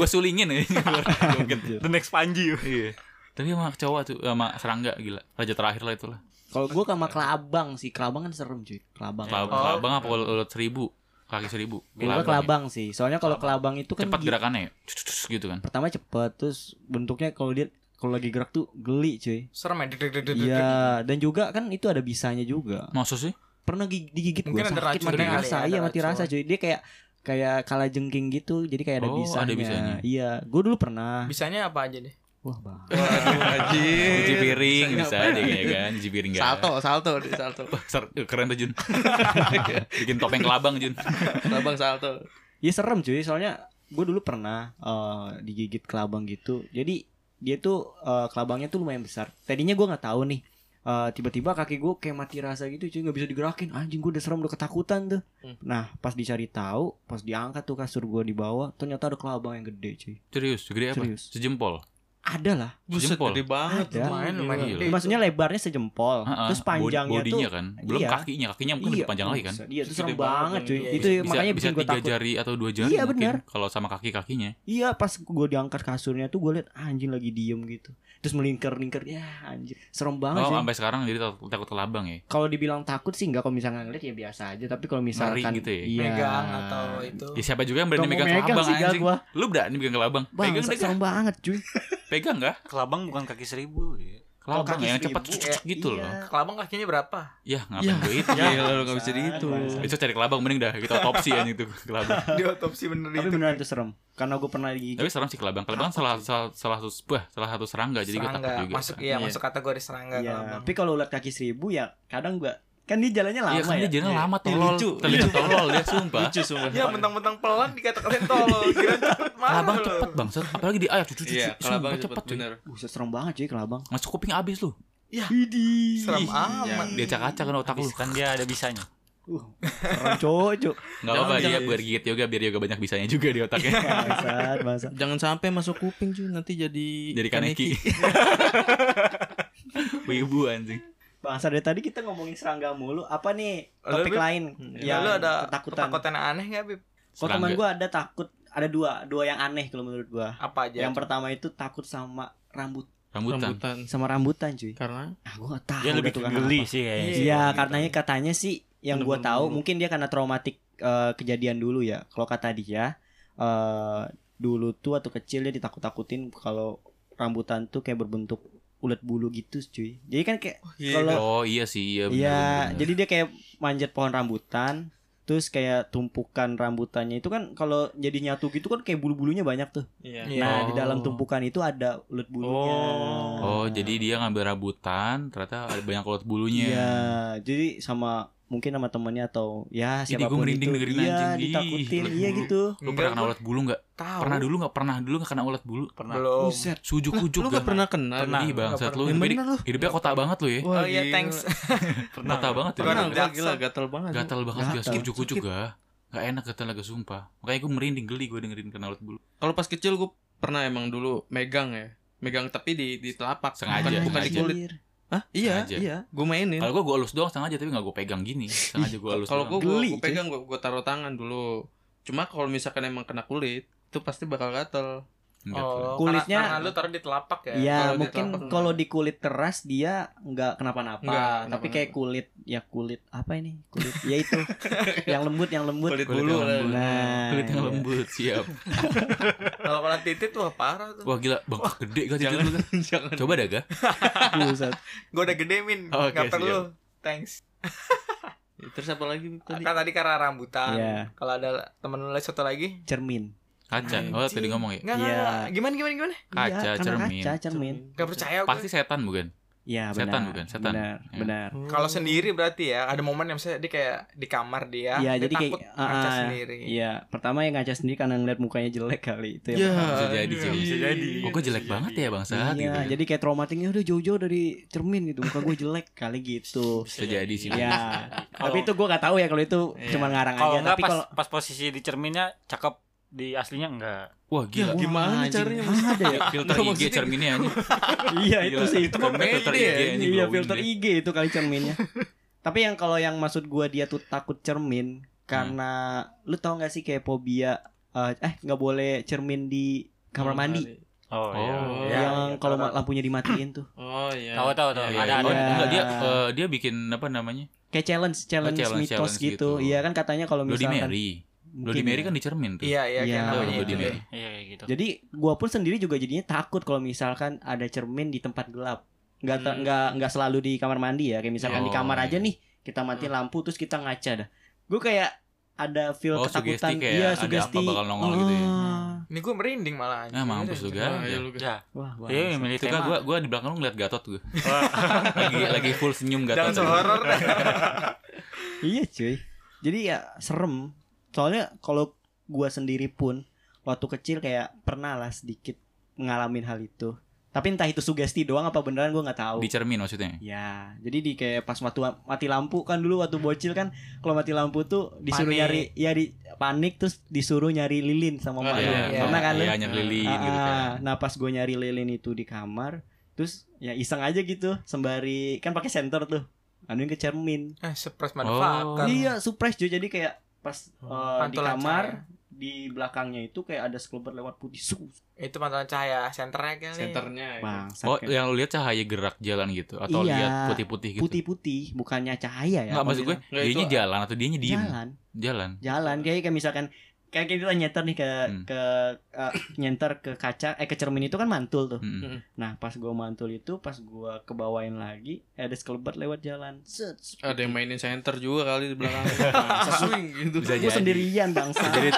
Gua sulingin ya. Ular. Joget. The next Panji. Iya. Tapi sama cowok tuh sama serangga gila. Raja terakhir lah itulah. Kalau gua sama kelabang sih, kelabang kan serem cuy. Kelabang. Kelab- Oh. Kelabang apa ular ular seribu? Kaki seribu. Gua Kelabang. Iya, kelabang sih. Soalnya kalau kelabang itu kan Cepat gi- gerakannya ya. Cus, cus, cus gitu kan. pertama cepet terus bentuknya kalau dia kalau lagi gerak tuh geli cuy. Serem ya. deg, deg, deg, deg, deg. Iya, dan juga kan itu ada bisanya juga. Masa sih? Pernah gig- digigit gua Mungkin ada sakit racunnya kali mati ya, rasa. ada Iya, mati racun. rasa cuy. Dia kayak kayak kala jengking gitu. Jadi kayak ada Oh, ada bisanya. bisanya. Iya, gua dulu pernah. Bisanya apa aja deh? Wah, Bang. Iya, Cuci piring Bisa gitu. bisa ngapain? aja kayaknya kan. Cuci piring gak. salto, salto, deh, salto. Wah, ser- keren tuh Jun. Bikin topeng kelabang Jun. Abang salto. Iya serem cuy, soalnya gue dulu pernah eh, digigit kelabang gitu. Jadi dia tuh eh, kelabangnya tuh lumayan besar. Tadinya gua nggak tahu nih. Eh, tiba-tiba kaki gue kayak mati rasa gitu cuy nggak bisa digerakin anjing gue udah serem udah ketakutan tuh Hmm. nah pas dicari tahu pas diangkat tuh kasur gue di bawah ternyata ada kelabang yang gede cuy Serius, segede apa? Serius. Sejempol. ada lah Buset Jempol. gede banget. Ada. Lumayan, lumayan. Gila. gede. maksudnya lebarnya sejempol Ha-ha, terus bod- panjangnya tuh bodinya kan. Belum Iya. kakinya, kakinya mungkin lebih panjang lagi kan. buset, iya itu Gede serem banget, banget cuy iya. itu gitu. Bisa, makanya bisa bikin gue tiga takut jari atau dua jari Iya, mungkin. bener. Kalau sama kaki kakinya. Iya pas gue diangkat kasurnya tuh gue liat "Ah, anjing lagi diem gitu Terus melingkar-lingkar ya anjir Serem banget Oh, sih sampai sekarang jadi takut, takut kelabang ya. Kalau dibilang takut sih enggak Kalau misalnya ngeliat ya biasa aja Tapi kalau misalkan Ngeri gitu ya? Iya Megang atau itu. Ya, siapa juga yang Nggak berani mau megang megang kelabang sih gal anjing? gua. Lu berani megang kelabang? Bang Pegang deh. Kak. serem banget cuy Pegang enggak? Kelabang bukan kaki seribu. ya. Kelabang kaki ya, yang seribu, cepat cuk, cuk, cuk gitu iya. loh. Kelabang kakinya berapa? Ya, ngapain gue itu? Ya, lu enggak bisa gitu. Bangsat. Itu cari kelabang mending dah kita otopsi anjing tuh kelabang. Di otopsi bener Tapi beneran itu serem Karena gue pernah digigit Tapi serem sih kelabang. Kelabang salah salah salah satu wah, salah satu serangga jadi gue takut serangga. juga. Masuk iya, Iya. masuk kategori serangga Iya kelabang. Tapi kalau ulat kaki seribu ya kadang gue Kan dia jalannya lama Iya kan ya dia jalan lama Iya, tolol. lucu. Terlihat tolol dia sumpah. Lucu sumpah. Ya mentang-mentang pelan dikata-katain tolol, kira cepet marah Kelabang lu. cepet bangsat, apalagi di air cucu cucu. Iya, kelabang Sumpah, cepet cuy. bener. Buset serem banget cuy kelabang Masuk kuping abis lu. Idi Iya. Serem Ih, amat. Iya. Dia acak-acak kan otak lu. Habis kan dia ada bisanya. Uh, Serem cocok Enggak apa-apa Jangan, dia jangan. biar gigit yoga biar yoga banyak bisanya juga di otaknya. Bangsat bangsat Jangan sampai masuk kuping cuy nanti Iya, jadi Jadi kaneki. Wibu anjing. Bangsat dari tadi kita ngomongin serangga mulu Apa nih Lalu, topik Bib? lain Ya, yang lu ada ketakutan ketakutan aneh gak, Bib? Kalau teman Serangga. gue ada takut ada dua dua yang aneh kalau menurut gue. Apa aja? Yang pertama itu takut sama rambut Rambutan. rambutan. sama rambutan cuy. Karena Ah gue gak tahu. Dia lebih tuh karena geli apa. sih kayaknya. sih. Iya karenanya katanya sih yang gue Bener-bener tahu buruk. mungkin dia karena traumatik eh, kejadian dulu ya. Kalau kata dia eh, dulu tuh waktu kecil dia ditakut-takutin kalau rambutan tuh kayak berbentuk ulet bulu gitu cuy. Jadi kan kayak Oh Kalau- iya sih iya bener, Iya, bener. jadi dia kayak manjat pohon rambutan, terus kayak tumpukan rambutannya itu kan kalau jadi nyatu gitu kan kayak bulu-bulunya banyak tuh. Iya. Iya. Nah, di Oh. dalam tumpukan itu ada ulet bulunya. Oh, jadi dia ngambil rambutan, ternyata ada banyak ulat bulunya. Iya, jadi sama mungkin sama temennya atau ya Jadi siapapun gua merinding itu. dengerin iya, anjing. Ih, ditakutin. ulet Iya bulu. gitu. Lu pernah kena ulat bulu nggak? Tahu. Pernah dulu nggak? Pernah dulu nggak kena ulat bulu? Pernah. Belum. Buset. Sujuk Lah, ujuk Lu gak pernah kenal? Pernah Nggak bang, pernah. saat lu Yang hidupnya, bener lu. hidupnya kota banget lu ya. Oh iya, thanks. Pernah. Kota banget ya. Pernah. Pernah, lu. gua gila gatel banget. Gatal banget gas Gatal. ujuk ujuk gak? Gak enak gatal agak sumpah. Makanya gue merinding geli gue dengerin kena ulat bulu. Kalau pas kecil gue pernah emang dulu megang ya. Megang tapi di di telapak Sengaja, bukan, bukan di sengaja. kulit. Hah? Iya, Sengaja. iya. Gue mainin. Kalau gue gue elus doang sengaja tapi nggak gue pegang gini. Sengaja gue elus. Kalau gue doang. Geli, gue pegang gue taruh tangan dulu. Cuma kalau misalkan emang kena kulit itu pasti bakal gatel. Enggak, Oh, gua- Kulitnya- karena, karena lu taruh di telapak ya. Iya, Kalau di mungkin telapak kalau enggak. di kulit keras dia nggak kenapa-napa, Nggak tapi kenapa-napa. kayak kulit ya kulit apa ini? Kulit ya itu. yang lembut, yang lembut. Kulit, kulit bulu. yang lah. lembut. Nah, Kulit yang iya. lembut siap. Kalau kena titit wah parah tuh. Wah gila bang gede gak tidur Jangan, lu kan? jangan. Coba dah gak? Buset. Gue udah gede min, Oke, nggak siap. perlu. Thanks. Terus apa lagi tadi? Kan tadi karena rambutan. Iya. Kalau ada temen lu lagi satu lagi, Cermin. Kaca. Oh tadi Anjing. ngomong ya. enggak Iya. enggak. Gimana gimana gimana? Kaca, karena cermin. Kaca, cermin. Gak percaya gue. Pasti setan bukan? Iya benar. Setan bukan? Setan. Benar, Ya. benar. Kalau sendiri berarti ya ada momen yang misalnya dia kayak di kamar dia, Iya, dia jadi kayak- takut ah, ngaca ah, sendiri. Iya, pertama yang ngaca sendiri karena ngeliat mukanya jelek kali itu. Iya. yang pertama. Bisa jadi, cuy. Bisa jadi. Kok gue jelek banget ya bang Sat? Iya, gitu. jadi kayak traumatiknya udah jauh-jauh dari cermin gitu. Muka gue jelek kali gitu. Bisa jadi sih. Iya. Kalau- tapi itu gue gak tahu ya kalau itu Iya. cuma ngarang Kalau aja. enggak Tapi pas, kalau pas posisi di cerminnya cakep di aslinya enggak. Wah gila. Iya. Gimana Wah, nih anjing, caranya? mana ada ya? Filter Nggak, IG maksudnya- cerminnya ini. iya itu Gila. sih itu Comeback komedi filter deh. IG ini iya glowing filter deh. IG itu kali cerminnya. Tapi yang kalau yang maksud gua dia tuh takut cermin karena lu tau gak sih kayak fobia eh, eh nggak boleh cermin di kamar Hmm, mandi Oh, iya. Oh, iya. yang kalau ma- lampunya dimatiin tuh Oh iya. Tahu tahu tahu. Iya, Ada iya. ada. Oh, ada. Enggak dia eh, dia bikin apa namanya? kayak challenge Oh, challenge, challenge, mitos challenge gitu. gitu. iya kan katanya kalau Bloody misalkan Mary. mungkin Bloody Mary ya. kan di cermin tuh. Iya, iya, Iya. kayak namanya Bloody itu Mary. deh. Iya kayak gitu. jadi gua pun sendiri juga jadinya takut kalau misalkan ada cermin di tempat gelap nggak ta- Hmm. nggak nggak selalu di kamar mandi ya kayak misalkan di Oh, kamar aja iya. nih kita matiin lampu terus kita ngaca dah gue kayak ada feel Oh, sugesti ketakutan kayak iya ada sugesti apa bakal nongol gitu ya. Ah. Ini gue merinding malah. Ah, mampus lu, Ah, Gan. iya, lu- Ya, wah wah iya milih Itu kan tema. gue gua di belakang lu ngeliat Gatot gue. lagi lagi full senyum Gatot. Jangan sehoror. iya cuy jadi ya serem soalnya kalau gua sendiri pun waktu kecil kayak pernah lah sedikit ngalamin hal itu tapi entah itu sugesti doang apa beneran gua nggak tahu Di cermin maksudnya. Ya, jadi di kayak pas waktu mati lampu kan dulu waktu bocil kan kalau mati lampu tuh disuruh Panik. nyari ya di panik terus disuruh nyari lilin sama Oh, emak lu. iya, Iya, iya. Pernah kan lu? Iya, nyari lilin Ah, gitu kan. ah. Nah, pas gue nyari lilin itu di kamar, terus ya iseng aja gitu sembari kan pakai senter tuh. Anuin ke cermin. Eh, surprise motherfucker. Oh. Iya, surprise juga jadi kayak pas eh, di Pantulan kamar cahaya. di belakangnya itu kayak ada sekelebat lewat putih. Suh, Itu pantulan cahaya, senternya kan. Senternya. ya. bangsat, Oh, kayak yang lu lihat cahaya gerak jalan gitu atau Iya. lihat putih-putih gitu. putih-putih, bukannya cahaya ya. Enggak maksud gue, Nggak, dianya itu- jalan atau dianya diem? jalan. Jalan. jalan kayak kayak misalkan kayak kita nyenter nih ke Hmm. ke eh, nyenter ke kaca eh ke cermin itu kan mantul tuh Mm-mm. nah pas gua mantul itu pas gua kebawain lagi ada sekelebat lewat jalan set set. Ada yang mainin center juga kali di belakang. Iya. Swing gitu. Bisa jadi. gua sendirian bangsa Jadi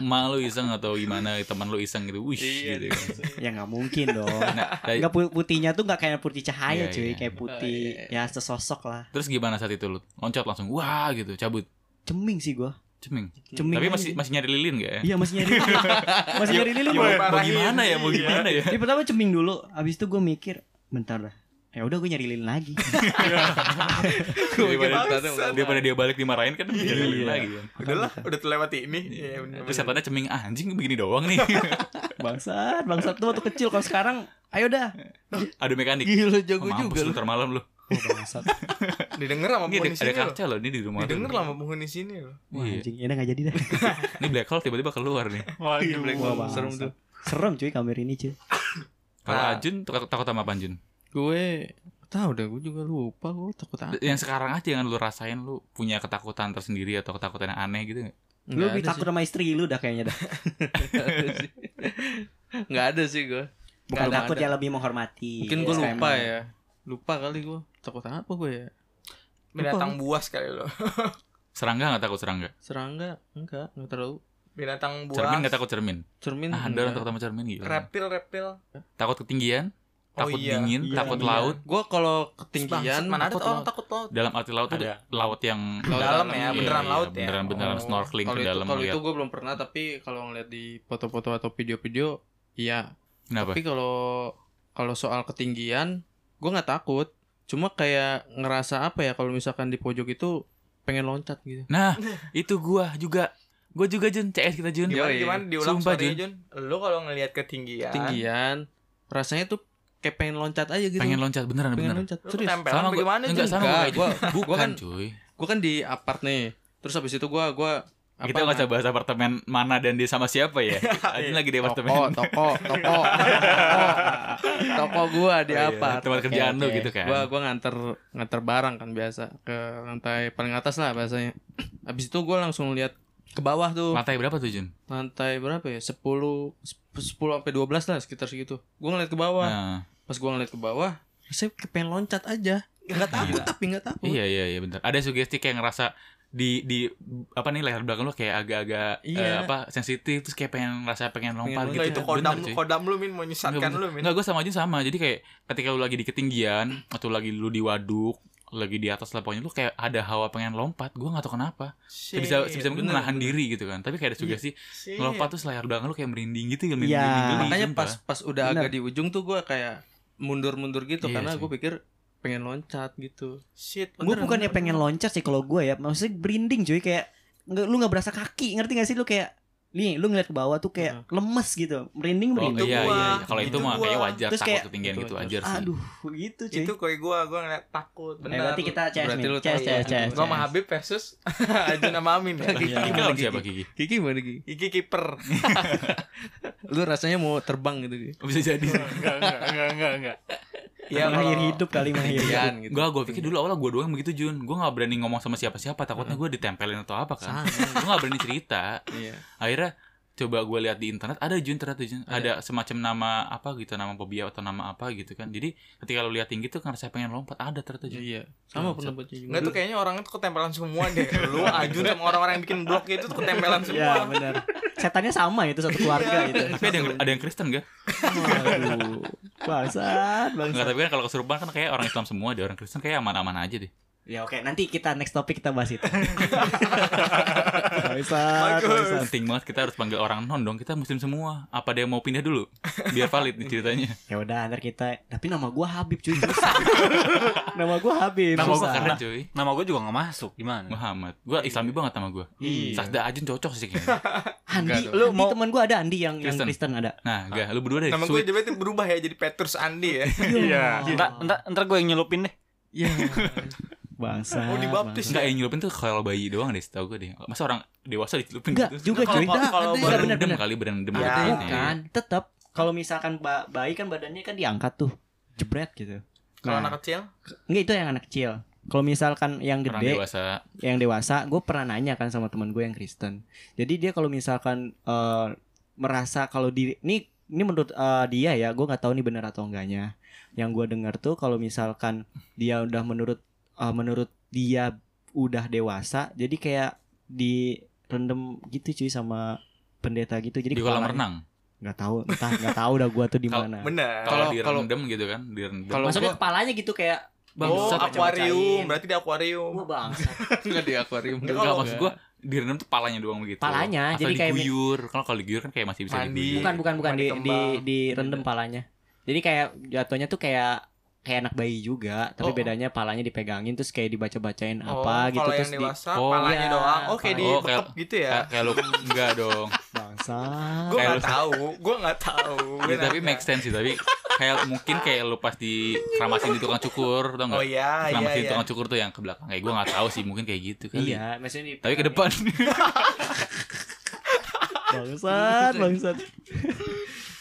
emak lu iseng atau gimana teman lu iseng gitu. Wish Iya. gitu. kan. ya nggak mungkin dong Nah, dari- Nggak pu- putihnya tuh nggak kayak putih cahaya Iya, cuy iya. kayak putih Oh, ya sesosok lah terus gimana saat itu lu? Loncat langsung wah gitu, cabut. ceming sih gua Ceming. ceming Tapi aja. masih masih nyari lilin gak ya? iya masih nyari lilin. masih nyari lilin Iya, gua. Pak. Mau gimana ya? Mau gimana ya? Jadi pertama ceming dulu, habis itu gue mikir, bentar dah. Ya udah gue nyari lilin lagi. daripada, Bangsat. daripada dia balik dimarahin kan nyari Iya. lilin lagi kan. Udahlah, udah terlewati ini. Iya, bener. Terus setannya ceming ah, anjing begini doang nih. bangsat, bangsat tuh waktu kecil kalau sekarang ayo dah. Aduh mekanik. Gila Oh, mampus lu ntar malam lu. Oh, bangsat. Didengar sama Ini ada, penghuni ada sini. loh. kaca loh ini di rumah. lu. Didengar lah sama penghuni sini loh. Wah, Iya. anjing, ini gak jadi dah. Ini black hole tiba-tiba keluar nih. Iya, Black Wah, Hole. bangsat. Serem tuh. Serem cuy kamera ini cuy. Kalau Nah. Ajun takut, takut sama apa Ajun? Gue tahu dah gue juga lupa gue takut apa. Yang sekarang aja yang lu rasain lu punya ketakutan tersendiri atau ketakutan yang aneh gitu nggak? Lu lebih takut sama istri lu dah kayaknya dah. Enggak ada sih gue. Bukan Nggak takut ada. ya lebih menghormati. Mungkin gue Disclaimer. lupa ya. Lupa kali gue. Takut apa gue ya? Binatang buas kali loh. Serangga nggak takut serangga? Serangga? Enggak, enggak terlalu. Binatang buas. Cermin nggak takut cermin? Cermin. iya. Ah, ada orang enggak. takut sama cermin gitu. Reptil, reptil. Takut ketinggian, Oh, takut iya. dingin, Iya, takut iya. laut. Gue kalau Bangsat, ketinggian mana ada takut orang laut. takut laut. Dalam arti laut tuh Ada. laut yang Laut dalam dalam, ya, iya, beneran Oh, iya, laut ya. Beneran beneran Oh. snorkeling Kalau ke itu, dalam kalau itu lihat. gue belum pernah tapi kalau ngeliat di foto-foto atau video-video iya. Kenapa? Tapi kalau kalau soal ketinggian gue nggak takut. Cuma kayak ngerasa apa ya kalau misalkan di pojok itu pengen loncat gitu. Nah, itu gua juga. Gua juga Jun, CS kita Jun. Gimana, Yoi. gimana? Diulang Sumpah, sorry Jun. Jun. Lu kalau ngelihat ketinggian. Ketinggian rasanya tuh kayak pengen loncat aja gitu. Pengen loncat beneran Pengen beneran. loncat. Lu Serius. ketempelan gua- bagaimana Jun? enggak sama gua Enggak, kayak Jun. gua- gua Bukan kan- cuy. Gue kan di apart nih. Terus habis itu gue gua Kita nggak usah bahas apartemen mana dan dia sama siapa ya. Ajun Iya. lagi di apartemen. toko, toko, toko, toko, toko gue di Oh, iya, apart. Tempat kerjaan lu gitu kan. gua gua nganter nganter barang kan biasa ke lantai paling atas lah biasanya abis itu gua langsung lihat ke bawah tuh Lantai berapa tuh Jun? lantai berapa ya 10 10 sampai 12 lah sekitar segitu gua ngeliat ke bawah Nah, pas gua ngeliat ke bawah saya kepengen loncat aja nggak takut tapi nggak takut iya iya iya bentar. Ada sugesti kayak ngerasa di di apa nih leher belakang lu kayak agak-agak eh, Iya. apa sensitif terus kayak pengen rasa pengen lompat lompat. Nggak, itu gitu. Bener, kodam Bener, cuy. kodam lu min menyesatkan lu min Enggak, gue sama aja sama. Jadi kayak ketika lu lagi di ketinggian atau lagi lu di waduk, lagi di atas lah pokoknya lu kayak ada hawa pengen lompat. Gue nggak tahu kenapa. Sebisa Shit. sebisa mungkin bener, menahan diri gitu kan. Tapi kayak ada sugesti Shit. lompat tuh layar belakang lu kayak merinding gitu, merinding Iya. geli, Nah, makanya sumpah. pas pas udah Bener. agak di ujung tuh gue kayak mundur-mundur gitu Iya karena sih. gue pikir pengen loncat gitu Shit, Gue beneran. bukannya pengen loncat sih kalau gue ya, maksudnya berinding cuy kayak nggak lu nggak berasa kaki, ngerti gak sih lu kayak nih lu ngeliat ke bawah tuh kayak lemes gitu, merinding Oh merinding. iya, gua. iya, iya. Kalau itu, Itu mah gua. kayak wajar Terus takut kayak- ketinggian Itu gitu wajar. aja sih. Aduh, gitu cuy. itu koi gua gua ngeliat takut eh, bener Iya, berarti kita CS Berarti nih. lu CS, tahu CS, ya. CS. gua sama Habib versus Ajun sama Amin ya. Kiki, Kiki Iya. gimana, lawan Kiki? siapa Kiki? Kiki gimana Kiki? Iki kiper. Lu rasanya mau terbang gitu Kiki? Bisa jadi. Enggak, enggak, enggak, enggak, enggak. Ya, Mahir kalau- hidup kali mahir. Ketinggian gitu Gak, gue ya. pikir dulu awalnya gue doang yang begitu Jun Gue gak berani ngomong sama siapa-siapa Takutnya gue ditempelin atau apa kan Gue gak berani cerita Iya akhirnya coba gue lihat di internet ada Jun ternyata Jun ada semacam nama apa gitu nama fobia atau nama apa gitu kan jadi ketika lo lihat tinggi tuh karena saya kan, pengen lompat ada ternyata Jun Iya Sama Nah, pendapatnya juga Enggak tuh kayaknya orangnya tuh ketempelan semua deh. Lu Ajun sama orang-orang yang bikin blog itu tuh ketempelan Iya, semua. benar. Setannya sama itu satu keluarga gitu. tapi ada Iya. yang, ada yang Kristen gak? Waduh. Enggak, Bangsat, bangsat. tapi kan kalau kesurupan kan kayak orang Islam semua deh Orang Kristen kayak aman-aman aja deh Ya oke, nanti kita next topik kita bahas itu. bangsat, Bagus. bangsat. Penting banget kita harus panggil orang non dong Kita muslim semua Apa dia mau pindah dulu? Biar valid nih ceritanya Ya udah, ntar kita. Tapi nama gua Habib cuy. Susah. nama gua Habib. Nama gue susah. Nah, keren cuy Nama gue juga gak masuk, gimana? Muhammad Gue islami banget sama gue Iya. Sasda Ajun cocok sih kayaknya Andi, Enggak, lu lu mau- teman gua ada Andi yang yang Kristen. Kristen ada. Nah gak, lu berdua deh Nama gue Sweet tiba-tiba berubah ya jadi Petrus Andi ya. Iya. Entar, entar, entar gue yang nyelupin deh. Iya Bangsa. Oh, dibaptis. Enggak yang nyelupin tuh kalau bayi doang deh setahu gue deh Masa orang dewasa dicelupin Enggak gitu juga cuy. Kalau- kalau Enggak, baru- Berendam benar-benar. kali gitu berendam Ada kayaknya. Bukan, tetap kalau misalkan ba- bayi kan badannya kan diangkat tuh, jebret gitu. Kalau Nah. anak kecil, Enggak itu yang anak kecil. Kalau misalkan yang Orang gede, dewasa yang dewasa, gue pernah nanya kan sama teman gue yang Kristen. Jadi dia kalau misalkan eh, merasa kalau diri ini ini menurut eh, dia ya, gue nggak tahu nih benar atau enggaknya. Yang gue dengar tuh kalau misalkan dia udah menurut eh, menurut dia udah dewasa, jadi kayak direndam gitu cuy sama pendeta gitu. Jadi di kolam kepalanya- renang. nggak tahu entah nggak tahu dah gua tuh di Kalau mana bener. Kalau Kalau- direndam gitu kan, direndam. Kalau maksudnya gua kepalanya gitu kayak "Oh, Oh, Bangsat, akuarium, baca-bacain. berarti di akuarium. gua bang Enggak di akuarium Enggak, Enggak kalau- maksud gua direndam tuh palanya doang begitu. Palanya, Atau jadi kayak- diguyur. Kalau kalau diguyur kan kayak masih bisa Mandi. diguyur. bukan bukan bukan di Mandi di, kembang. di rendem palanya jadi kayak jatuhnya tuh kayak kayak anak bayi juga tapi Oh. bedanya palanya dipegangin terus kayak dibaca-bacain Oh, apa gitu kalau yang terus di dewasa Oh. palanya Iya, doang. Oke, di palanya. Oh, bekep gitu ya. Kayak- Kayak lu enggak dong. bangsa Gue kayak nggak lu- tahu, gue nggak tahu. Gua Ya, tapi nanya. make sense sih, tapi kayak mungkin kayak lu pas di keramasin di tukang cukur, Oh tau enggak? iya, iya, Keramasin di iya. tukang cukur tuh yang ke belakang. Kayak gua enggak tahu sih, mungkin kayak gitu kali. iya maksudnya di- Tapi ke depan. bangsat bangsat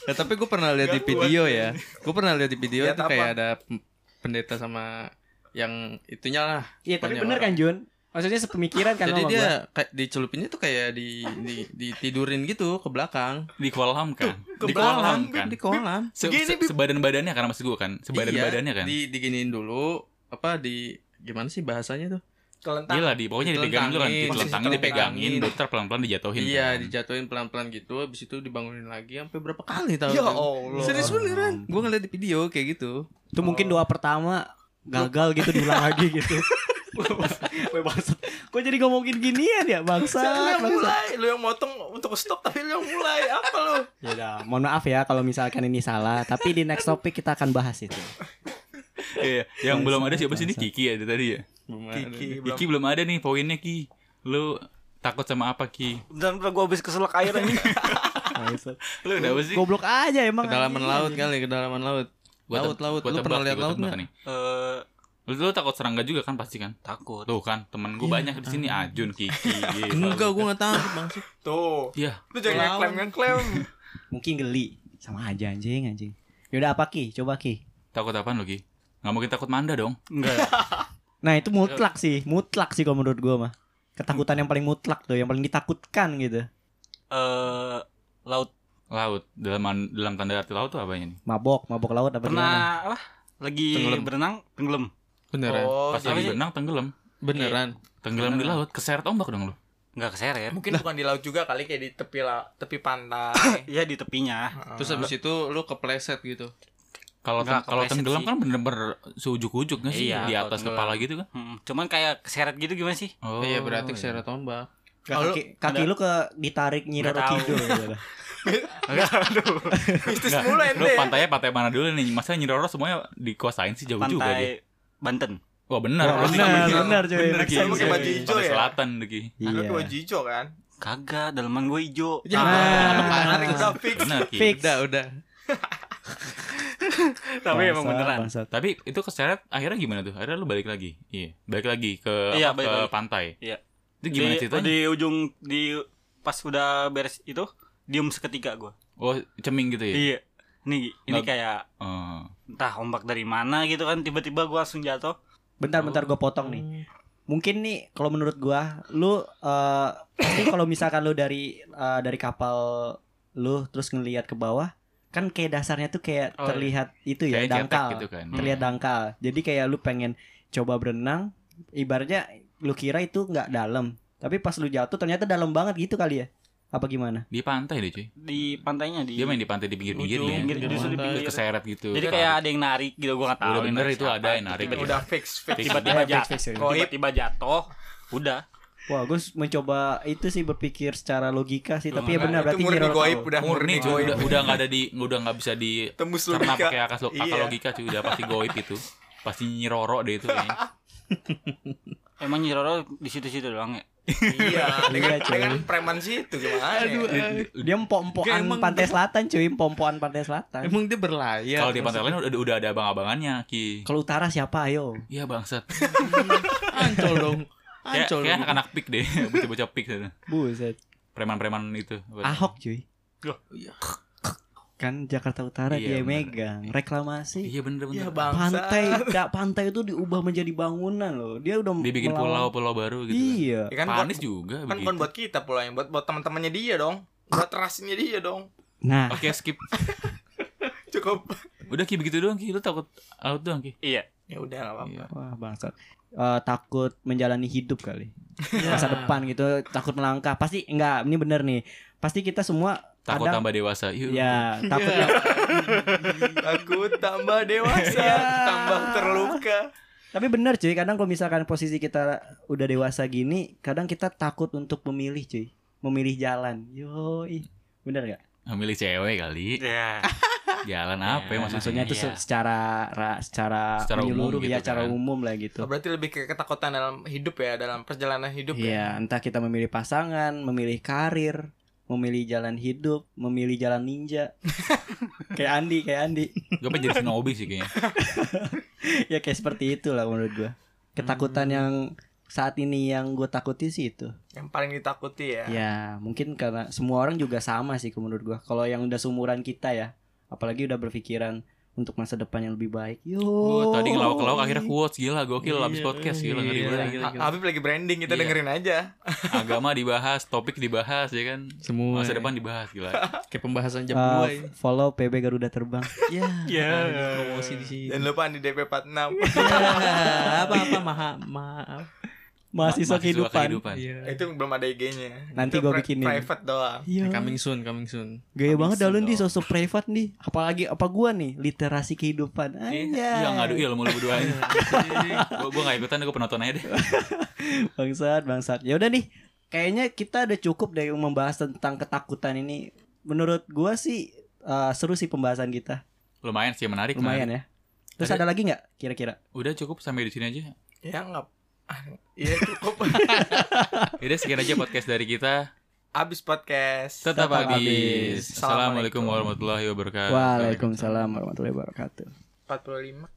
Ya, tapi gue pernah lihat di Gak kuat. video ya. Gue pernah lihat di video Lihat itu apa? kayak ada p- pendeta sama yang itunya lah. iya tapi Banyak bener kan Jun maksudnya sepemikiran kan Jadi sama dia gua. kayak dicelupinnya tuh kayak di, di ditidurin gitu ke belakang. di kolam kan. Ke Di belakang, kolam kan. Di kolam. Iya, Se- Gini, se- Bib. Sebadan-badannya kan maksud gua kan. Sebadan-badannya kan. Di diginiin dulu apa di gimana sih bahasanya tuh? Kelentang. Gila di pokoknya dipegangin dulu kan, Ditelentangin. ditelentangin Posisi dipegangin, telentangin. dokter pelan-pelan dijatuhin. iya, kan. dijatuhin pelan-pelan gitu habis itu dibangunin lagi sampai berapa kali tahu. Ya kan? Allah. Serius beneran. Gue ngeliat di video kayak gitu. itu mungkin doa pertama gagal gitu diulang lagi gitu Weh, bangsat kok jadi ngomongin ginian ya Lu bangsat yang bangsat mulai, lu yang motong untuk stop tapi lu yang mulai apa lu? Ya udah, mohon maaf ya kalau misalkan ini salah, tapi di next topic kita akan bahas itu. Iya, yang belum ada siapa sih ini Kiki ya dari tadi ya. Kiki belum. Kiki belum ada nih poinnya Ki. Lu takut sama apa Ki? Dan gue habis keselak air anjing. Lu udah apa sih? Goblok aja emang. Kedalaman laut kali, kedalaman laut. Laut, laut. Lu pernah lihat laut nggak nggak? nih? Eh, Lu, lu takut serangga juga kan pasti kan? takut. Tuh kan, temen gue banyak di sini Ajun, Kiki. gitu. Iya, Gil, Enggak, Lalu. gue nggak takut bang. Tuh. Iya. Lu jangan ngeklaim ngeklaim. Mungkin geli. Sama aja anjing anjing. Yaudah apa Ki? Coba Ki. Takut apaan lu Ki? Gak mungkin takut manda dong. Enggak. Nah, itu mutlak sih, mutlak sih kalau menurut gua mah. Ketakutan yang paling mutlak tuh, yang paling ditakutkan gitu. Eh, laut Laut dalam dalam tanda arti laut tuh apanya nih? Mabok, mabok laut apa gimana? pernah apa? Lagi Tenggelam. berenang tenggelam. Beneran. Oh, Pas jadi iya. lagi berenang tenggelam. Beneran. Tenggelam di laut, keseret ombak dong lu. nggak keseret Mungkin bukan di laut juga kali kayak di tepi la- tepi pantai. Iya, ya di tepinya Terus habis itu lu kepleset gitu. Kalau teng- Nggak kalau kepleset tenggelam sih. kan bener-bener seujuk-ujuk nggak sih Iya, di kalau atas tenggelam. kepala gitu kan? Hmm, cuman kayak keseret gitu gimana sih Oh, iya berarti keseret ombak. Nggak, Kalau- kaki, kaki lu ke ditarik nyira Nggak tahu. Rokido gitu. Mistis Nggak, mulu Lu ente. ya. pantainya pantai mana dulu nih? Masa Nyiroro semuanya dikuasain sih jauh juga dia. pantai Banten Wah benar, Wah, berarti benar, kamu- benar, cuy. Bener, Make Ki. sense, Pakai baju Pantai hijau ya? Selatan tuh, Ki. Lu Iya. dua jijo kan? kagak dalaman gue ijo Nah, Udah fix. Benar, Ki. Fix. udah udah. tapi ya, emang Bangsat, beneran bangsat. Tapi itu keseret akhirnya gimana tuh? Akhirnya lu balik lagi. Iya, balik lagi ke Iya, apa, balik ke lagi. pantai. Iya. Itu Eh, gimana di, ceritanya? di ujung di pas udah beres itu diem seketika gue Oh, ceming gitu ya. iya ini ini Nggak- kayak Oh. entah ombak dari mana gitu kan tiba-tiba gue langsung jatuh Bentar bentar gue potong nih. Mungkin nih kalau menurut gua lu eh, pasti kalau misalkan lu dari eh, dari kapal lu terus ngelihat ke bawah kan kayak dasarnya tuh kayak Oh, iya. terlihat itu ya Kayak cetek dangkal. gitu kan. Terlihat dangkal. Jadi kayak lu pengen coba berenang ibaratnya lu kira itu nggak dalam. Tapi pas lu jatuh ternyata dalam banget gitu kali ya. Apa gimana? Di pantai deh, cuy. di pantainya di Dia main di pantai di pinggir-pinggir Ujung, ya. Iya. pinggir Di gitu justru di pantai. Terus pinggir keseret gitu. jadi kayak ada yang narik gitu gue nggak tahu Udah bener ini itu siapa. gitu. ada yang narik ya. Tiba-tiba- Udah fix, fix. Fix. tiba-tiba Eh, fix, jatuh fix, fix. Goib. tiba-tiba jatuh udah Wah, gue mencoba itu sih berpikir secara logika sih, tapi ya Nah, benar berarti itu murni Nyiroro goib, tahu. udah murni murni cuy, goib. udah udah nggak ada di udah nggak bisa di Tembus karena logika. pakai akal, akal Iya. logika cuy, udah pasti goib itu. Pasti nyiroro deh itu kayaknya. emang Nyiroro di situ-situ doang ya Iya, dengan, Iya, cuy. dengan preman situ gimana? Aduh, ya? eh, Dia empompoan Kayak emang- pantai selatan cuy, empompoan pantai selatan. Oh. emang dia Iya, berlayar. Kalau di pantai lain udah udah ada abang-abangannya, Ki. Kalau utara siapa ayo? Iya bangsat. ancol dong. Kayak Ancol. kayak dong. anak-anak pik deh, bocah-bocah pik gitu. sana. Buset. Preman-preman itu. Ahok cuy. Loh, Kan Jakarta Utara Iya, dia bener. megang reklamasi. Iya bener Iya, bener. bangsa. Pantai, nggak pantai itu diubah menjadi bangunan loh. Dia udah Dibikin melawan- pulau-pulau baru gitu. Iya. Ya Kan. kan Panis buat, juga kan bukan begitu. buat kita pulangnya, buat buat teman-temannya dia dong. Buat rasnya dia dong. Nah, Oke, skip. Cukup. Udah Ki begitu doang Ki, lu takut laut doang Ki. iya Ya udah enggak apa-apa. Iya. wah bangsat. Eh, takut menjalani hidup kali. Iya. Masa depan gitu, takut melangkah. Pasti enggak, ini bener nih. Pasti kita semua Takut ada tambah dewasa. Iya, Yuk. Ya, takut Aku tambah dewasa, tambah terluka. Tapi benar cuy, kadang kalau misalkan posisi kita udah dewasa gini, kadang kita takut untuk memilih cuy, memilih jalan. Yoi, bener gak? Milih cewek kali. ya Jalan apa ya maksudnya? Iya, Maksudnya itu se- Iya. secara ra- secara, Secara umum menyeluruh gitu ya, secara kan. umum lah gitu. Oh, berarti lebih ke ketakutan dalam hidup ya, dalam perjalanan hidup ya. Iya, entah kita memilih pasangan, memilih karir, memilih jalan hidup, memilih jalan ninja. kayak Andi, kayak Andi. Gue pengen jadi shinobi sih kayaknya. ya kayak seperti itulah menurut gua. Ketakutan yang saat ini yang gue takuti sih itu. Yang paling ditakuti ya. Ya, mungkin karena semua orang juga sama sih kalau menurut gua. Kalau yang udah seumuran kita ya, apalagi udah berpikiran untuk masa depan yang lebih baik. Yo. Gue tadi ngelawak-ngelawak akhirnya quotes gila Iya, gokil abis podcast gila ngeri Iya. banget. Ha- Habib lagi branding, kita Iya. dengerin aja. Agama dibahas, topik dibahas ya kan. Semua. Iya. Masa depan dibahas gila. kayak pembahasan jam ya. Uh, 2 ini. follow PB Garuda Terbang. Ya. Iya. ada Promosi di sini. Jangan lupa di DP 46. apa apa maaf maaf. Mahasiswa Mahasiswa kehidupan. Iya. Itu belum ada IG-nya. Nanti Itu gua pri- bikinin. private doang. Iya. Eh, Coming soon, coming soon. Gaya banget dah lu soon di dong. sosok privat nih. Apalagi apa gua nih literasi kehidupan. Anjay. Iya ngadu ilmu lu berdua aja. Iya. Gue gue nggak ikutan, gue penonton aja deh. Bangsat, bangsat. Ya udah nih. Kayaknya kita udah cukup dari membahas tentang ketakutan ini. Menurut gua sih eh, seru sih pembahasan kita. Lumayan sih menarik. Lumayan menarik. ya. Terus ada, lagi nggak kira-kira? Udah cukup sampai di sini aja. Ya enggak. Iya cukup. Yaudah sekian aja podcast dari kita. Abis podcast. Tetap, Tetap habis. habis. Assalamualaikum warahmatullahi wabarakatuh. Waalaikumsalam warahmatullahi wabarakatuh. 45.